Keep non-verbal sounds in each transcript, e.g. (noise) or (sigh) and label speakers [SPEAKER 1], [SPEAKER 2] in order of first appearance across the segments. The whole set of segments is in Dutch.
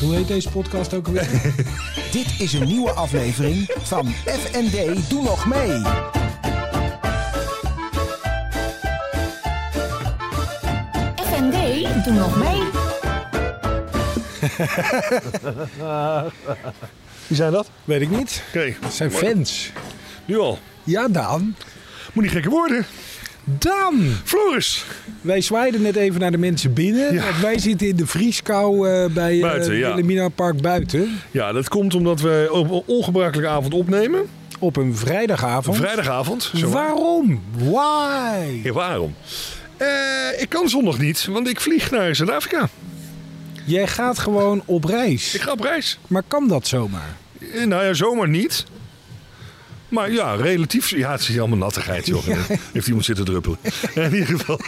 [SPEAKER 1] Hoe heet deze podcast ook alweer?
[SPEAKER 2] Dit is een nieuwe aflevering van FND Doe Nog Mee.
[SPEAKER 3] FND, doe nog mee.
[SPEAKER 1] Wie zijn dat? Weet ik niet.
[SPEAKER 4] Oké,
[SPEAKER 1] Het zijn fans.
[SPEAKER 4] nu al.
[SPEAKER 1] Ja, Daan.
[SPEAKER 4] Moet niet gekke worden.
[SPEAKER 1] Daan!
[SPEAKER 4] Floris!
[SPEAKER 1] Wij zwaaiden net even naar de mensen binnen.
[SPEAKER 4] Ja.
[SPEAKER 1] want wij zitten in de vrieskou eh, bij eh
[SPEAKER 4] Buiten, ja.
[SPEAKER 1] Wilhelmina Park buiten.
[SPEAKER 4] Ja, dat komt omdat we op een ongebruikelijke avond opnemen.
[SPEAKER 1] Op een vrijdagavond.
[SPEAKER 4] Vrijdagavond. zo.
[SPEAKER 1] Waarom? Why?
[SPEAKER 4] Ja, waarom? Eh, ik kan zondag niet, want ik vlieg naar Zuid-Afrika.
[SPEAKER 1] Jij gaat gewoon op
[SPEAKER 4] Ik
[SPEAKER 1] reis.
[SPEAKER 4] ga op reis.
[SPEAKER 1] Maar kan dat zomaar?
[SPEAKER 4] Eh, nou ja, zomaar niet. Maar ja, relatief. Ja, het is allemaal nattigheid, (laughs) joh. Heeft iemand zitten (laughs) druppelen. In ieder geval.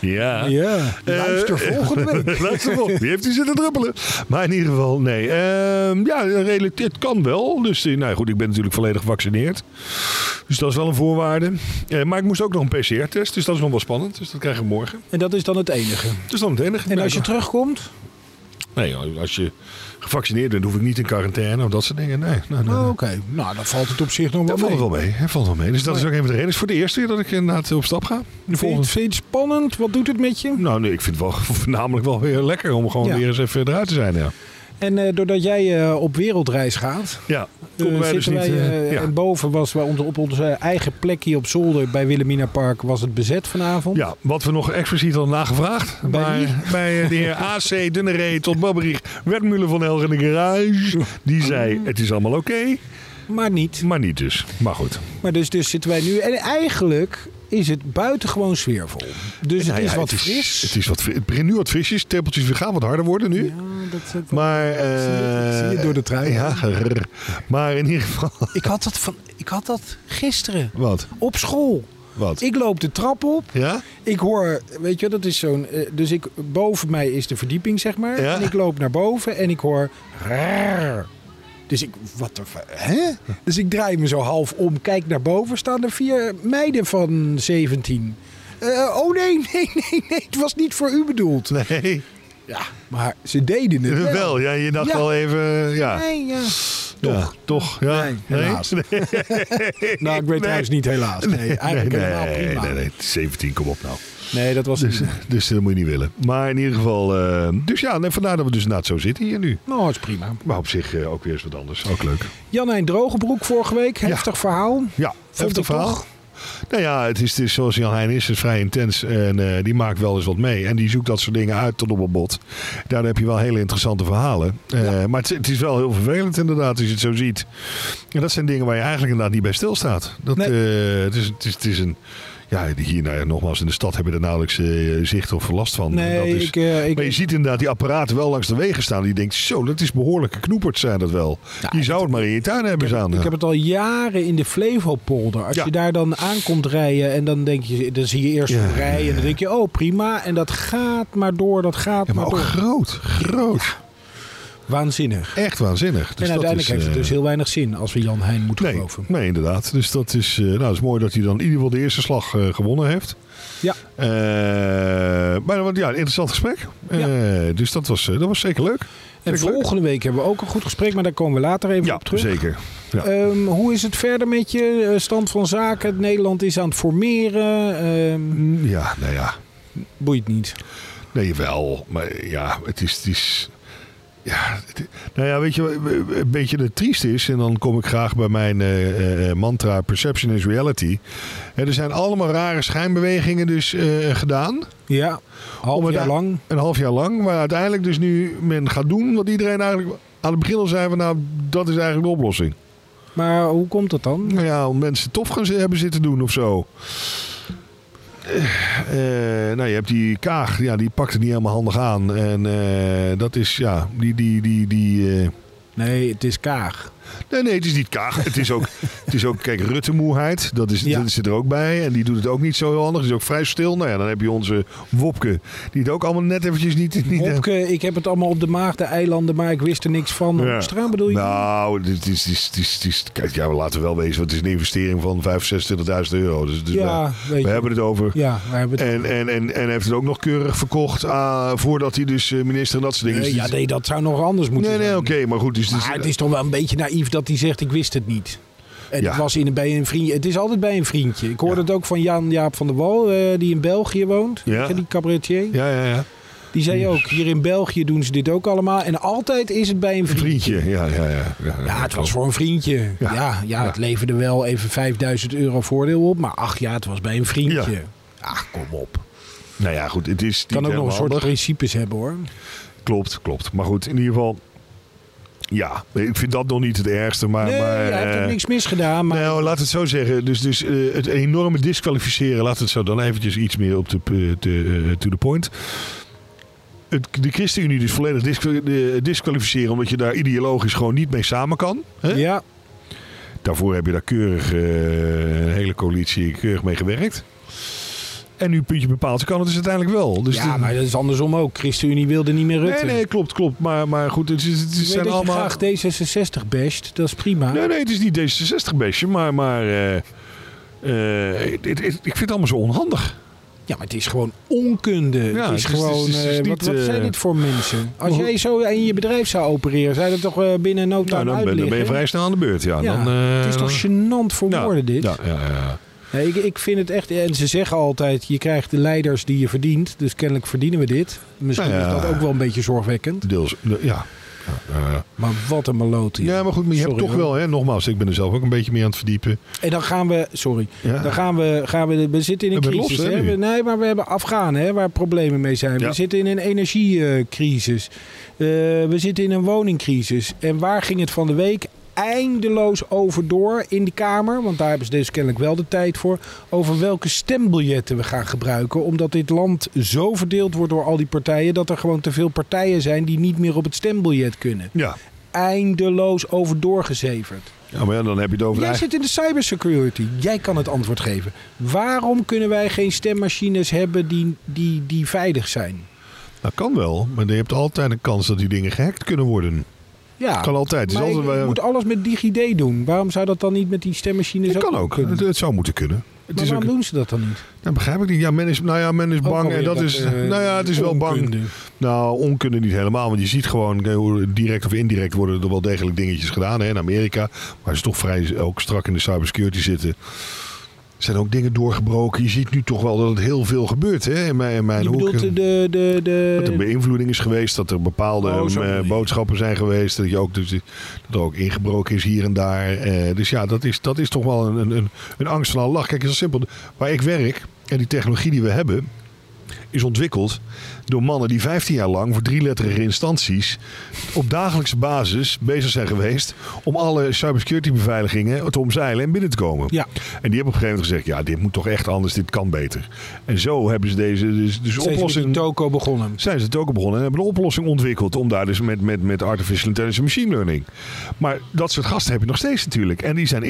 [SPEAKER 4] ja.
[SPEAKER 1] Ja. Luister
[SPEAKER 4] Eh,
[SPEAKER 1] volgende
[SPEAKER 4] (laughs)
[SPEAKER 1] week.
[SPEAKER 4] Luister op, wie heeft u zitten druppelen? Maar in ieder geval, nee. Ehm, ja, redelijk, het kan wel. Dus eh, nou goed, ik ben natuurlijk volledig gevaccineerd. Dus dat is wel een voorwaarde. Eh, maar ik moest ook nog een PCR-test, dus dat is nog wel spannend. Dus dat krijg ik morgen.
[SPEAKER 1] En dat is dan het enige.
[SPEAKER 4] Dus dan het enige.
[SPEAKER 1] En als je terugkomt?
[SPEAKER 4] Nee, als je gevaccineerd bent, hoef ik niet in quarantaine of dat soort dingen. Nee, nou,
[SPEAKER 1] Oh, Oké,
[SPEAKER 4] nou,
[SPEAKER 1] nou dan valt het op zich nog wel
[SPEAKER 4] dat valt
[SPEAKER 1] mee.
[SPEAKER 4] er wel mee. Dat valt wel mee. Dus dat is ook een van de redenen. Het is voor de eerste keer dat ik inderdaad op stap ga. De
[SPEAKER 1] Vind je
[SPEAKER 4] volgende.
[SPEAKER 1] het- vind je het spannend? Wat doet het met je?
[SPEAKER 4] Nou nee, ik vind het wel (laughs) voornamelijk wel weer lekker om gewoon
[SPEAKER 1] Ja.
[SPEAKER 4] weer eens even eruit te zijn. Ja,
[SPEAKER 1] En eh, doordat jij eh, op wereldreis gaat,
[SPEAKER 4] ja
[SPEAKER 1] eh,
[SPEAKER 4] komen wij dus
[SPEAKER 1] zitten
[SPEAKER 4] niet...
[SPEAKER 1] wij,
[SPEAKER 4] eh,
[SPEAKER 1] eh,
[SPEAKER 4] ja.
[SPEAKER 1] en boven was wij onder- op onze eh, eigen plek hier op zolder bij Wilhelmina Park was het bezet vanavond.
[SPEAKER 4] Ja, wat we nog expliciet hadden nagevraagd.
[SPEAKER 1] Bij
[SPEAKER 4] maar
[SPEAKER 1] wie?
[SPEAKER 4] (laughs) bij eh, de heer AC Dunneré tot Babberich Wertmuller van Helgen in de garage. Die
[SPEAKER 1] Oh.
[SPEAKER 4] zei, het is allemaal oké,
[SPEAKER 1] Maar niet.
[SPEAKER 4] maar niet dus. Maar goed.
[SPEAKER 1] Maar dus, dus zitten wij nu. En eigenlijk is het buitengewoon sfeervol. Dus het
[SPEAKER 4] Nou ja,
[SPEAKER 1] is wat
[SPEAKER 4] het
[SPEAKER 1] fris.
[SPEAKER 4] Het, is wat, fri- het begint nu wat frisjes. Tempeltjes we gaan wat harder worden nu.
[SPEAKER 1] Ja, dat, dat-
[SPEAKER 4] Maar,
[SPEAKER 1] je-
[SPEAKER 4] eh,
[SPEAKER 1] zie je door de trui.
[SPEAKER 4] Ja, grrr. maar in ieder geval. (laughs)
[SPEAKER 1] ik, had dat van, ik had dat gisteren
[SPEAKER 4] Wat?
[SPEAKER 1] op school.
[SPEAKER 4] Wat?
[SPEAKER 1] Ik loop de trap op.
[SPEAKER 4] Ja?
[SPEAKER 1] Ik hoor, weet je, dat is zo'n. eh, Dus ik, boven mij is de verdieping, zeg maar.
[SPEAKER 4] Ja.
[SPEAKER 1] En ik loop naar boven en ik hoor. "Raar." Dus ik, wat de. fu- Hè? Dus ik draai me zo half om, kijk naar boven, staan er vier meiden van 17. Eh, oh nee, (laughs) nee, nee, nee, het was niet voor u bedoeld.
[SPEAKER 4] Nee.
[SPEAKER 1] Ja, maar ze deden het wel.
[SPEAKER 4] Wel, ja, je dacht
[SPEAKER 1] Ja.
[SPEAKER 4] wel even. Ja,
[SPEAKER 1] Nee, ja.
[SPEAKER 4] Ja, toch? Ja.
[SPEAKER 1] Nee,
[SPEAKER 4] (laughs)
[SPEAKER 1] helaas. Nou, ik weet
[SPEAKER 4] Nee.
[SPEAKER 1] trouwens niet helaas. Nee,
[SPEAKER 4] (laughs) Nee,
[SPEAKER 1] eigenlijk helemaal
[SPEAKER 4] nee,
[SPEAKER 1] prima. eh,
[SPEAKER 4] nee, nee, 17, kom op nou.
[SPEAKER 1] Nee, dat was het.
[SPEAKER 4] Dus,
[SPEAKER 1] niet.
[SPEAKER 4] (laughs) dus dat moet je niet willen. Maar in ieder geval. eh, dus ja, nee, vandaar dat we dus inderdaad zo zitten hier nu.
[SPEAKER 1] Nou, het is prima.
[SPEAKER 4] Maar op zich eh, ook weer eens wat anders. Ook leuk.
[SPEAKER 1] Jan-Hein Drogebroek vorige week, heftig verhaal.
[SPEAKER 4] Ja,
[SPEAKER 1] Vond ik
[SPEAKER 4] heftig verhaal.
[SPEAKER 1] toch?
[SPEAKER 4] Nou ja, het is, het is zoals Jan Heijn is, het is vrij intens. En eh, die maakt wel eens wat mee. En die zoekt dat soort dingen uit tot op een bot. Daardoor heb je wel hele interessante verhalen. Eh, Maar het, is- het is wel heel vervelend inderdaad, als je het zo ziet. En dat zijn dingen waar je eigenlijk inderdaad niet bij stilstaat. Dat, eh, het, is, het, is, het is een... Ja, hier nou ja, nogmaals, in de stad hebben we er nauwelijks eh, zicht of last van.
[SPEAKER 1] Nee,
[SPEAKER 4] dat is,
[SPEAKER 1] ik, eh, ik,
[SPEAKER 4] Maar je ziet inderdaad die apparaten wel langs de wegen staan. Die denkt, zo, dat is behoorlijk knoeperd zijn dat wel. je zou het maar in je tuin hebben staan.
[SPEAKER 1] Ik heb het al jaren in de Flevopolder. Als
[SPEAKER 4] Ja.
[SPEAKER 1] je daar dan aankomt rijden en dan denk je, dan zie je eerst
[SPEAKER 4] Ja,
[SPEAKER 1] een rij en dan denk je, oh prima. En dat gaat maar door, dat gaat
[SPEAKER 4] Ja,
[SPEAKER 1] maar,
[SPEAKER 4] maar ook
[SPEAKER 1] door.
[SPEAKER 4] groot. Groot.
[SPEAKER 1] Waanzinnig.
[SPEAKER 4] Echt waanzinnig. Dus
[SPEAKER 1] en
[SPEAKER 4] dat
[SPEAKER 1] uiteindelijk
[SPEAKER 4] is,
[SPEAKER 1] heeft het
[SPEAKER 4] eh,
[SPEAKER 1] dus heel weinig zin als we Jan Heijn moeten
[SPEAKER 4] Nee,
[SPEAKER 1] geloven.
[SPEAKER 4] nee, inderdaad. Dus dat is, eh, nou, het is mooi dat hij dan in ieder geval de eerste slag eh, gewonnen heeft.
[SPEAKER 1] Ja.
[SPEAKER 4] Eh, maar wat- ja, een interessant gesprek. Eh, dus dat was, eh, dat was zeker leuk.
[SPEAKER 1] En
[SPEAKER 4] Zeker leuk.
[SPEAKER 1] volgende week hebben we ook een goed gesprek, maar daar komen we later even
[SPEAKER 4] Ja,
[SPEAKER 1] op terug.
[SPEAKER 4] zeker. Ja.
[SPEAKER 1] Ehm, hoe is het verder met je eh, stand van zaken? Nederland is aan het formeren. ehm,
[SPEAKER 4] ja, nou ja.
[SPEAKER 1] boeit niet.
[SPEAKER 4] Nee, wel. Maar ja, het is... Het is ja, het- nou ja, weet je, wat een beetje het triest is, en dan kom ik graag bij mijn eh, eh, eh, mantra Perception is Reality. En er zijn allemaal rare schijnbewegingen dus eh, gedaan.
[SPEAKER 1] Ja, half
[SPEAKER 4] het
[SPEAKER 1] jaar
[SPEAKER 4] daar-
[SPEAKER 1] lang.
[SPEAKER 4] een half jaar lang. Maar uiteindelijk dus nu men gaat doen wat iedereen eigenlijk aan het begin al zei van nou, dat is eigenlijk de oplossing.
[SPEAKER 1] Maar hoe komt dat dan?
[SPEAKER 4] Nou ja, om mensen tof gaan zi- hebben zitten doen of zo. Eh, eh, nou, je hebt die Kaag, ja, die pakt het niet helemaal handig aan. En eh, dat is, ja, die, die, die, die eh,
[SPEAKER 1] Nee, het is Kaag.
[SPEAKER 4] Nee, nee, het is niet kaag. Het
[SPEAKER 1] (laughs)
[SPEAKER 4] is ook, het is ook kijk, Rutte-moeheid. Dat, is,
[SPEAKER 1] Ja.
[SPEAKER 4] dat zit er ook bij. En die doet het ook niet zo heel handig. Die is ook vrij stil. Nou ja, dan heb je onze Wopke. Die het ook allemaal net eventjes niet... niet
[SPEAKER 1] Hopke, ik heb het allemaal op de Maagde-eilanden, maar ik wist er niks van.
[SPEAKER 4] Ja.
[SPEAKER 1] Hoekstra bedoel je?
[SPEAKER 4] Nou, dit is, dit is, dit is, dit is- kijk, ja, we laten we wel wezen. Want het is een investering van 25.000 euro. Dus, dus
[SPEAKER 1] Ja,
[SPEAKER 4] we-
[SPEAKER 1] weet
[SPEAKER 4] we
[SPEAKER 1] je.
[SPEAKER 4] hebben het over.
[SPEAKER 1] Ja, we hebben het...
[SPEAKER 4] En, en, en, en hij heeft het ook nog keurig verkocht ah, voordat hij dus eh, minister en dat soort dingen
[SPEAKER 1] Eh,
[SPEAKER 4] is. Dus-
[SPEAKER 1] ja, nee, dat zou nog anders moeten
[SPEAKER 4] nee, nee,
[SPEAKER 1] zijn.
[SPEAKER 4] oké, maar goed. Dus, dus-
[SPEAKER 1] Maar het is toch wel een beetje naïef dat hij zegt, ik wist het niet. Het,
[SPEAKER 4] Ja.
[SPEAKER 1] was in, bij een vriendje, het is altijd bij een vriendje. Ik hoorde
[SPEAKER 4] Ja.
[SPEAKER 1] het ook van Jan-Jaap van der Wal, eh, die in België woont.
[SPEAKER 4] Ja.
[SPEAKER 1] Weet je, Die cabaretier.
[SPEAKER 4] Ja, ja, ja.
[SPEAKER 1] Die zei ook, hier in België doen ze dit ook allemaal. En altijd is het bij een vriendje.
[SPEAKER 4] Vriendje, ja, ja, ja. ja,
[SPEAKER 1] Ja, het was voor een vriendje. Ja, ja, het leverde wel even 5000 euro voordeel op. Maar ach ja, het was bij een vriendje.
[SPEAKER 4] Ja.
[SPEAKER 1] Ach, Ah, kom op.
[SPEAKER 4] Nou ja, goed, het is niet
[SPEAKER 1] Kan ook nog een
[SPEAKER 4] helemaal
[SPEAKER 1] soort
[SPEAKER 4] handig.
[SPEAKER 1] principes hebben hoor.
[SPEAKER 4] Klopt, klopt. Maar goed, in ieder geval... Ja, ik vind dat nog niet het ergste, maar...
[SPEAKER 1] Nee,
[SPEAKER 4] maar,
[SPEAKER 1] hij heeft
[SPEAKER 4] eh,
[SPEAKER 1] ook niks misgedaan. Maar
[SPEAKER 4] Nou, laat het zo zeggen. Dus, dus eh, het enorme disqualificeren, laat het zo dan eventjes iets meer op de, p- te, eh, to the point. Het, de ChristenUnie dus volledig disqu- eh, disqualificeren omdat je daar ideologisch gewoon niet mee samen kan. Hè?
[SPEAKER 1] ja,
[SPEAKER 4] Daarvoor heb je daar keurig eh, een hele coalitie keurig mee gewerkt. En nu puntje bepaald kan het dus uiteindelijk wel. Dus
[SPEAKER 1] ja,
[SPEAKER 4] de-
[SPEAKER 1] maar dat is andersom ook. ChristenUnie wilde niet meer
[SPEAKER 4] nee,
[SPEAKER 1] Rutte.
[SPEAKER 4] nee, klopt, klopt. Maar, maar goed, het, is- het
[SPEAKER 1] Ik weet
[SPEAKER 4] zijn
[SPEAKER 1] dat je
[SPEAKER 4] allemaal...
[SPEAKER 1] graag D66 basht, dat is prima.
[SPEAKER 4] Nee, nee, het is niet D66-beestje, maar, maar eh, eh, het- het- het- ik vind het allemaal zo onhandig.
[SPEAKER 1] Ja, maar het is gewoon onkunde.
[SPEAKER 4] het
[SPEAKER 1] het
[SPEAKER 4] is-
[SPEAKER 1] is
[SPEAKER 4] het is-
[SPEAKER 1] gewoon...
[SPEAKER 4] het is- het is
[SPEAKER 1] eh,
[SPEAKER 4] niet,
[SPEAKER 1] wat, wat
[SPEAKER 4] eh,
[SPEAKER 1] zijn dit voor mensen? Als
[SPEAKER 4] hoe-
[SPEAKER 1] jij zo in je bedrijf zou opereren, zou je dat toch eh, binnen no
[SPEAKER 4] Nou,
[SPEAKER 1] time
[SPEAKER 4] dan ben, dan ben je
[SPEAKER 1] uitliggen?
[SPEAKER 4] vrij snel aan de beurt, ja.
[SPEAKER 1] Ja,
[SPEAKER 4] dan, eh,
[SPEAKER 1] het is
[SPEAKER 4] dan-
[SPEAKER 1] toch gênant voor
[SPEAKER 4] Ja,
[SPEAKER 1] woorden dit?
[SPEAKER 4] Ja, ja, ja.
[SPEAKER 1] Nee, ik, ik vind het echt... En ze zeggen altijd, je krijgt de leiders die je verdient. Dus kennelijk verdienen we dit. Misschien
[SPEAKER 4] Nou ja.
[SPEAKER 1] is dat ook wel een beetje zorgwekkend.
[SPEAKER 4] Deels, ja. ja. ja, eh, ja.
[SPEAKER 1] Maar wat een melotie.
[SPEAKER 4] Ja, maar goed, maar je hebt
[SPEAKER 1] Sorry,
[SPEAKER 4] toch
[SPEAKER 1] hoor.
[SPEAKER 4] wel, hè, nogmaals, ik ben er zelf ook een beetje mee aan het verdiepen.
[SPEAKER 1] En dan gaan we... Sorry.
[SPEAKER 4] Ja.
[SPEAKER 1] Dan gaan we, gaan we, we zitten in een
[SPEAKER 4] We hebben
[SPEAKER 1] crisis.
[SPEAKER 4] los, hè,
[SPEAKER 1] hè?
[SPEAKER 4] nu.
[SPEAKER 1] We- nee, maar we hebben Afghanen hè, waar problemen mee zijn.
[SPEAKER 4] Ja.
[SPEAKER 1] We zitten in een energiecrisis. Eh, we zitten in een woningcrisis. En waar ging het van de week eindeloos over door in de Kamer? Want daar hebben ze dus kennelijk wel de tijd voor. Over welke stembiljetten we gaan gebruiken. Omdat dit land zo verdeeld wordt door al die partijen... dat er gewoon te veel partijen zijn die niet meer op het stembiljet kunnen.
[SPEAKER 4] Ja.
[SPEAKER 1] Eindeloos over doorgezeverd.
[SPEAKER 4] ja, maar ja, dan heb je het over de
[SPEAKER 1] Jij
[SPEAKER 4] eigen-
[SPEAKER 1] zit in de cybersecurity. Jij kan het antwoord geven. Waarom kunnen wij geen stemmachines hebben die, die, die veilig zijn?
[SPEAKER 4] Dat kan wel, maar je hebt altijd een kans dat die dingen gehackt kunnen worden.
[SPEAKER 1] Ja,
[SPEAKER 4] Kan altijd. Het is
[SPEAKER 1] Maar
[SPEAKER 4] altijd
[SPEAKER 1] je
[SPEAKER 4] wel-
[SPEAKER 1] moet alles met DigiD doen. Waarom zou dat dan niet met die stemmachines
[SPEAKER 4] Dat kan ook.
[SPEAKER 1] kunnen?
[SPEAKER 4] Het, het zou moeten kunnen. Het
[SPEAKER 1] Maar
[SPEAKER 4] is ook,
[SPEAKER 1] waarom doen ze dat dan niet?
[SPEAKER 4] dat begrijp ik niet. Ja, men is, nou ja, men is
[SPEAKER 1] Ook
[SPEAKER 4] bang.
[SPEAKER 1] alweer
[SPEAKER 4] En dat, is,
[SPEAKER 1] eh,
[SPEAKER 4] nou ja, het is wel bang.
[SPEAKER 1] onkunde.
[SPEAKER 4] Nou, onkunde niet helemaal. Want je ziet gewoon eh, hoe direct of indirect worden er wel degelijk dingetjes gedaan. Hè, in Amerika, waar ze toch vrij ook strak in de cybersecurity zitten. Zijn ook dingen doorgebroken. Je ziet nu toch wel dat het heel veel gebeurt hè, in mijn, in mijn
[SPEAKER 1] Je
[SPEAKER 4] hoek.
[SPEAKER 1] bedoelt de... de, de,
[SPEAKER 4] Dat er
[SPEAKER 1] de
[SPEAKER 4] beïnvloeding is geweest, dat er bepaalde
[SPEAKER 1] Oh, zo
[SPEAKER 4] eh,
[SPEAKER 1] bedoel je.
[SPEAKER 4] boodschappen zijn geweest. Dat, je ook, dus, dat er ook ingebroken is hier en daar. Eh, dus ja, dat is, dat is toch wel een, een- een, een angst van Allah. Kijk, het is heel simpel. Waar ik werk en die technologie die we hebben, is ontwikkeld door mannen die 15 jaar lang voor drieletterige instanties op dagelijkse basis bezig zijn geweest om alle cybersecurity beveiligingen te omzeilen en binnen te komen.
[SPEAKER 1] Ja.
[SPEAKER 4] En die hebben op een gegeven moment gezegd, ja, dit moet toch echt anders, dit kan beter. En zo hebben ze deze dus, dus
[SPEAKER 1] oplossing
[SPEAKER 4] oplossing
[SPEAKER 1] toko begonnen.
[SPEAKER 4] zijn ze het ook op begonnen en hebben een oplossing ontwikkeld om daar dus met, met, met artificial intelligence en machine learning. Maar dat soort gasten heb je nog steeds natuurlijk. En die zijn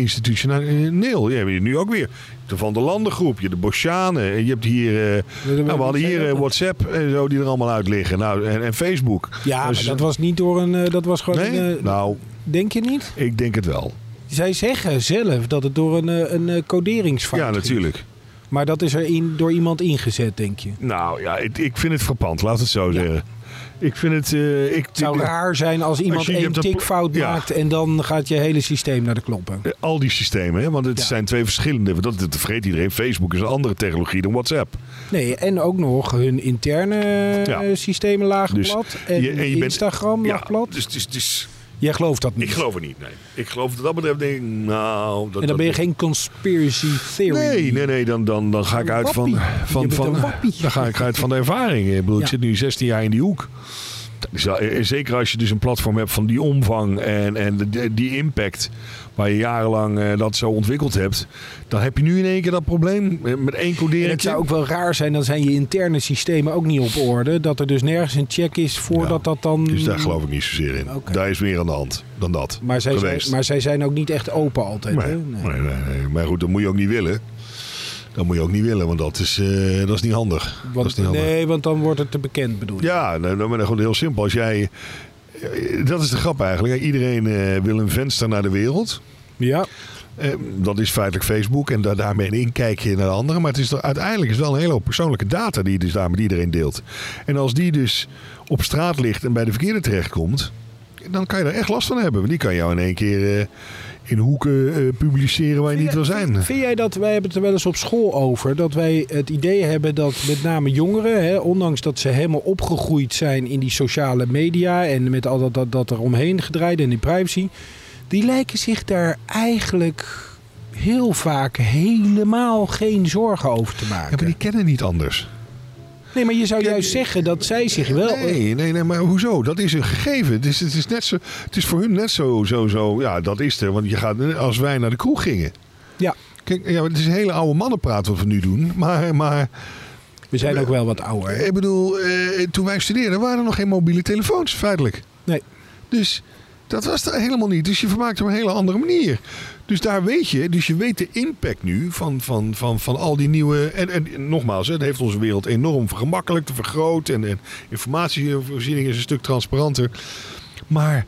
[SPEAKER 4] institutioneel. Je hebt hier nu ook weer de Van der Landengroep, je de Boschanen. En je hebt hier, eh, nou, we hadden hier eh, WhatsApp en zo die er allemaal uit liggen. Nou, en, en Facebook.
[SPEAKER 1] Ja,
[SPEAKER 4] Dus-
[SPEAKER 1] maar dat was niet door een... eh, Dat was gewoon
[SPEAKER 4] Nee?
[SPEAKER 1] een... eh,
[SPEAKER 4] nou,
[SPEAKER 1] Denk je niet?
[SPEAKER 4] ik denk het wel.
[SPEAKER 1] Zij zeggen zelf dat het door een, eh, een eh, coderingsfout
[SPEAKER 4] Ja,
[SPEAKER 1] ging.
[SPEAKER 4] natuurlijk.
[SPEAKER 1] Maar dat is er in, door iemand ingezet, denk je.
[SPEAKER 4] Nou ja, ik, ik vind het frappant, laat het zo zeggen. Ik vind het... eh, ik,
[SPEAKER 1] Het zou raar zijn als iemand
[SPEAKER 4] je- je
[SPEAKER 1] één
[SPEAKER 4] hebt dat pla-
[SPEAKER 1] tikfout
[SPEAKER 4] Ja.
[SPEAKER 1] maakt en dan gaat je hele systeem naar de kloppen.
[SPEAKER 4] Eh, Al die systemen, hè? want het
[SPEAKER 1] Ja.
[SPEAKER 4] zijn twee verschillende. want Dat, dat vergeet iedereen. Facebook is een andere technologie dan WhatsApp.
[SPEAKER 1] Nee, en ook nog hun interne eh,
[SPEAKER 4] Ja.
[SPEAKER 1] systemen lagen
[SPEAKER 4] Dus
[SPEAKER 1] plat en,
[SPEAKER 4] je- en je bent-
[SPEAKER 1] Instagram lag plat.
[SPEAKER 4] dus, dus, dus
[SPEAKER 1] Jij gelooft dat niet.
[SPEAKER 4] ik geloof er niet. Nee. Ik geloof wat dat betreft, denk ik, nou... Dat,
[SPEAKER 1] en dan ben je geen conspiracy theory.
[SPEAKER 4] Nee, nee, nee, dan, dan, dan ga ik uit van...
[SPEAKER 1] Wappie. Je
[SPEAKER 4] van,
[SPEAKER 1] bent
[SPEAKER 4] van
[SPEAKER 1] een wappie.
[SPEAKER 4] dan ga ik uit van de ervaring. Ik bedoel, ik
[SPEAKER 1] Ja.
[SPEAKER 4] zit nu 16 jaar in die hoek. Dat is wel- eh, zeker als je dus een platform hebt van die omvang en, en de- de- die impact. Waar je jarenlang eh, dat zo ontwikkeld hebt. Dan heb je nu in één keer dat probleem eh, met één
[SPEAKER 1] En
[SPEAKER 4] codering.
[SPEAKER 1] het zou ook wel raar zijn, dan zijn je interne systemen ook niet op orde. Dat er dus nergens een check is voordat
[SPEAKER 4] Ja,
[SPEAKER 1] dat dan...
[SPEAKER 4] Dus daar geloof ik niet zozeer in.
[SPEAKER 1] Mm. Oké.
[SPEAKER 4] Daar is meer aan de hand dan dat
[SPEAKER 1] maar zij, zijn,
[SPEAKER 4] geweest.
[SPEAKER 1] maar zij zijn ook niet echt open altijd.
[SPEAKER 4] nee,
[SPEAKER 1] hè?
[SPEAKER 4] nee.
[SPEAKER 1] Nee.
[SPEAKER 4] Nee, nee. Maar goed, dat moet je ook niet willen. Dat moet je ook niet willen, want dat is, eh, dat is niet handig. dat is
[SPEAKER 1] Want,
[SPEAKER 4] niet handig.
[SPEAKER 1] nee, want dan wordt het te bekend bedoel je.
[SPEAKER 4] Ja, nou, nou, maar dan gewoon heel simpel. Als jij, eh, dat is de grap eigenlijk. Iedereen eh, wil een venster naar de wereld.
[SPEAKER 1] Ja.
[SPEAKER 4] Eh, dat is feitelijk Facebook en daar, daarmee een inkijkje naar de anderen. Maar het is er, uiteindelijk is het wel een hele hoop persoonlijke data die je dus daar met iedereen deelt. En als die dus op straat ligt en bij de verkeerde terechtkomt, dan kan je daar echt last van hebben. Want die kan jou in één keer eh, in hoeken eh, publiceren waar je niet wil zijn.
[SPEAKER 1] Vind jij dat, wij hebben het er wel eens op school over, dat wij het idee hebben dat met name jongeren, hè, ondanks dat ze helemaal opgegroeid zijn in die sociale media en met al dat, dat, dat er omheen gedraaid en die privacy, die lijken zich daar eigenlijk heel vaak helemaal geen zorgen over te
[SPEAKER 4] Ja, maar
[SPEAKER 1] maken.
[SPEAKER 4] die kennen niet anders.
[SPEAKER 1] Nee, maar je zou
[SPEAKER 4] Kijk,
[SPEAKER 1] juist zeggen dat zij zich wel...
[SPEAKER 4] Nee, nee, nee, maar hoezo? Dat is een gegeven. Het is, het is, net zo, het is voor hun net zo, zo, zo. Ja, dat is er. Want je gaat, eh, als wij naar de kroeg gingen.
[SPEAKER 1] Ja,
[SPEAKER 4] Kijk, ja, het is een hele oude mannenpraat wat we nu doen. Maar, maar
[SPEAKER 1] we zijn ook wel wat ouder.
[SPEAKER 4] ik bedoel, eh, toen wij studeerden waren er nog geen mobiele telefoons, feitelijk.
[SPEAKER 1] Nee.
[SPEAKER 4] Dus dat was er helemaal niet. Dus je vermaakt op een hele andere manier. Dus daar weet je, dus je weet de impact nu van, van, van, van al die nieuwe. En, en nogmaals, hè, het heeft onze wereld enorm vergemakkelijkt, vergroot. En, en informatievoorziening is een stuk transparanter. Maar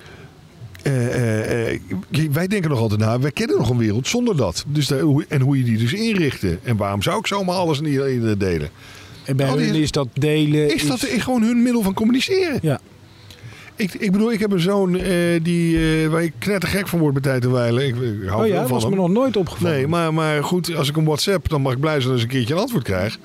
[SPEAKER 4] eh, eh, eh, je- wij denken nog altijd na, wij kennen nog een wereld zonder dat. Dus daar- hoe- en hoe je die dus inrichten. En waarom zou ik zomaar alles en iedereen eh, delen?
[SPEAKER 1] En bij
[SPEAKER 4] al die-
[SPEAKER 1] hen is dat delen...
[SPEAKER 4] Is dat gewoon hun middel van communiceren?
[SPEAKER 1] Ja. Oh
[SPEAKER 4] Ik, ik bedoel, ik heb een zoon eh, die, eh, waar ik knettergek van word bij tijd en wijlen. Ik, ik hou
[SPEAKER 1] Oh ja,
[SPEAKER 4] veel
[SPEAKER 1] dat
[SPEAKER 4] van
[SPEAKER 1] was
[SPEAKER 4] hem.
[SPEAKER 1] me nog nooit opgevallen.
[SPEAKER 4] Nee, maar, maar goed, als ik hem WhatsApp, dan mag ik blij zijn als ik een keertje een antwoord krijg.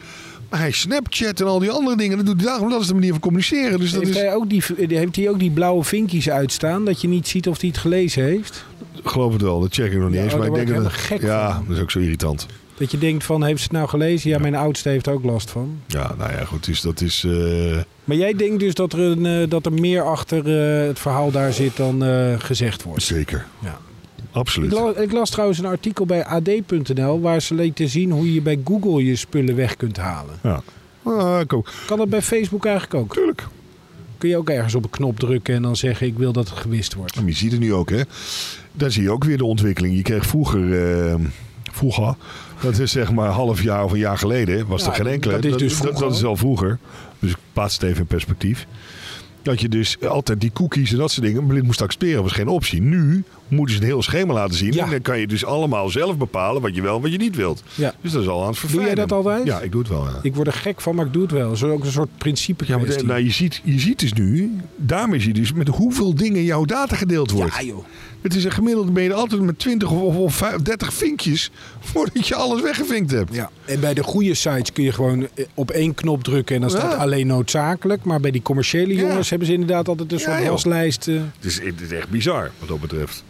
[SPEAKER 4] Maar hij Snapchat en al die andere dingen, dat doet hij daarom. Dat is de manier van communiceren. Dus dat
[SPEAKER 1] heeft,
[SPEAKER 4] is,
[SPEAKER 1] hij ook die, eh, heeft hij ook die blauwe vinkjes uitstaan? Dat je niet ziet of hij het gelezen heeft?
[SPEAKER 4] geloof het wel, dat check ik nog niet
[SPEAKER 1] Ja,
[SPEAKER 4] eens.
[SPEAKER 1] oh,
[SPEAKER 4] Maar ik
[SPEAKER 1] daar
[SPEAKER 4] denk
[SPEAKER 1] word ik
[SPEAKER 4] dat,
[SPEAKER 1] helemaal gek
[SPEAKER 4] ja,
[SPEAKER 1] van.
[SPEAKER 4] dat is ook zo irritant.
[SPEAKER 1] Dat je denkt van, heeft ze het nou gelezen? Ja, mijn oudste heeft er ook last van.
[SPEAKER 4] Ja, nou ja, goed, dus dat is... eh,
[SPEAKER 1] Maar jij denkt dus dat er, een, eh, dat er meer achter eh, het verhaal daar zit dan eh, gezegd wordt?
[SPEAKER 4] zeker.
[SPEAKER 1] Ja. Ik,
[SPEAKER 4] Absoluut.
[SPEAKER 1] la- ik las trouwens een artikel bij ad.nl waar ze lieten zien hoe je bij Google je spullen weg kunt halen.
[SPEAKER 4] Ja. Ah, ik ook.
[SPEAKER 1] Kan dat bij Facebook eigenlijk ook?
[SPEAKER 4] Tuurlijk.
[SPEAKER 1] Kun je ook ergens op een knop drukken en dan zeggen ik wil dat het gewist wordt?
[SPEAKER 4] Maar je ziet het nu ook, hè? Daar zie je ook weer de ontwikkeling. Je kreeg vroeger, eh, vroeger, dat is zeg maar een half jaar of een jaar geleden, was
[SPEAKER 1] Ja,
[SPEAKER 4] er geen enkele.
[SPEAKER 1] dat is dus
[SPEAKER 4] dat,
[SPEAKER 1] vroeger.
[SPEAKER 4] dat is al vroeger. Dus ik plaats het even in perspectief. Dat je dus altijd die cookies en dat soort dingen blind moest accepteren, was geen optie. Nu moeten ze een heel schema laten zien.
[SPEAKER 1] Ja.
[SPEAKER 4] En dan kan je dus allemaal zelf bepalen wat je wel en wat je niet wilt.
[SPEAKER 1] Ja.
[SPEAKER 4] Dus dat is al aan het verfijnen.
[SPEAKER 1] jij dat altijd?
[SPEAKER 4] Ja, ik doe het wel. Ja.
[SPEAKER 1] Ik word er gek van, maar ik doe het wel. Zo ook een soort principe
[SPEAKER 4] Ja, maar de- nou, je, ziet, je ziet dus nu, daarmee zie je dus met hoeveel dingen jouw data gedeeld wordt.
[SPEAKER 1] ja Ah, joh.
[SPEAKER 4] Het is een gemiddelde ben je er altijd met 20 of, of, of vijf- 30 vinkjes voordat je alles weggevinkt hebt.
[SPEAKER 1] Ja, en bij de goede sites kun je gewoon eh, op één knop drukken en dan staat
[SPEAKER 4] Ja.
[SPEAKER 1] alleen noodzakelijk. Maar bij die commerciële
[SPEAKER 4] Ja.
[SPEAKER 1] jongens hebben ze inderdaad altijd een
[SPEAKER 4] Ja,
[SPEAKER 1] soort
[SPEAKER 4] joh.
[SPEAKER 1] waslijst. eh.
[SPEAKER 4] Het is, het is echt bizar wat dat betreft.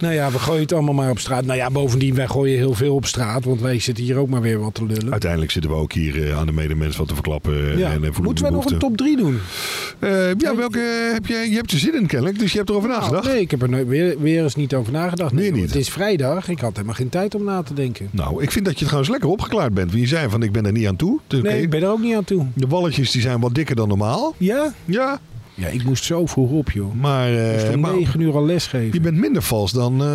[SPEAKER 1] nou ja, we gooien het allemaal maar op straat. Nou ja, bovendien, wij gooien heel veel op straat, want wij zitten hier ook maar weer wat te lullen.
[SPEAKER 4] Uiteindelijk zitten we ook hier eh, aan de medemens wat te verklappen. eh,
[SPEAKER 1] ja.
[SPEAKER 4] en, eh, voelen
[SPEAKER 1] Moeten wij nog
[SPEAKER 4] behoefte.
[SPEAKER 1] een top 3 doen?
[SPEAKER 4] Eh, ja, welke heb jij? Je hebt er zin in kennelijk, dus je hebt erover nagedacht.
[SPEAKER 1] Nou, nee, ik heb er nooit- weer, weer eens niet over nagedacht.
[SPEAKER 4] Weer
[SPEAKER 1] joh,
[SPEAKER 4] niet.
[SPEAKER 1] Het is vrijdag, ik had helemaal geen tijd om na te denken.
[SPEAKER 4] Nou, ik vind dat je trouwens lekker opgeklaard bent. Want je zei van ik ben er niet aan toe. Dus
[SPEAKER 1] Nee,
[SPEAKER 4] oké,
[SPEAKER 1] ik ben er ook niet aan toe.
[SPEAKER 4] De walletjes die zijn wat dikker dan normaal.
[SPEAKER 1] Ja?
[SPEAKER 4] Ja,
[SPEAKER 1] Ja, ik moest zo vroeg op, joh.
[SPEAKER 4] maar, eh,
[SPEAKER 1] Ik moest om
[SPEAKER 4] maar
[SPEAKER 1] 9 uur al lesgeven.
[SPEAKER 4] je bent minder vals dan, eh,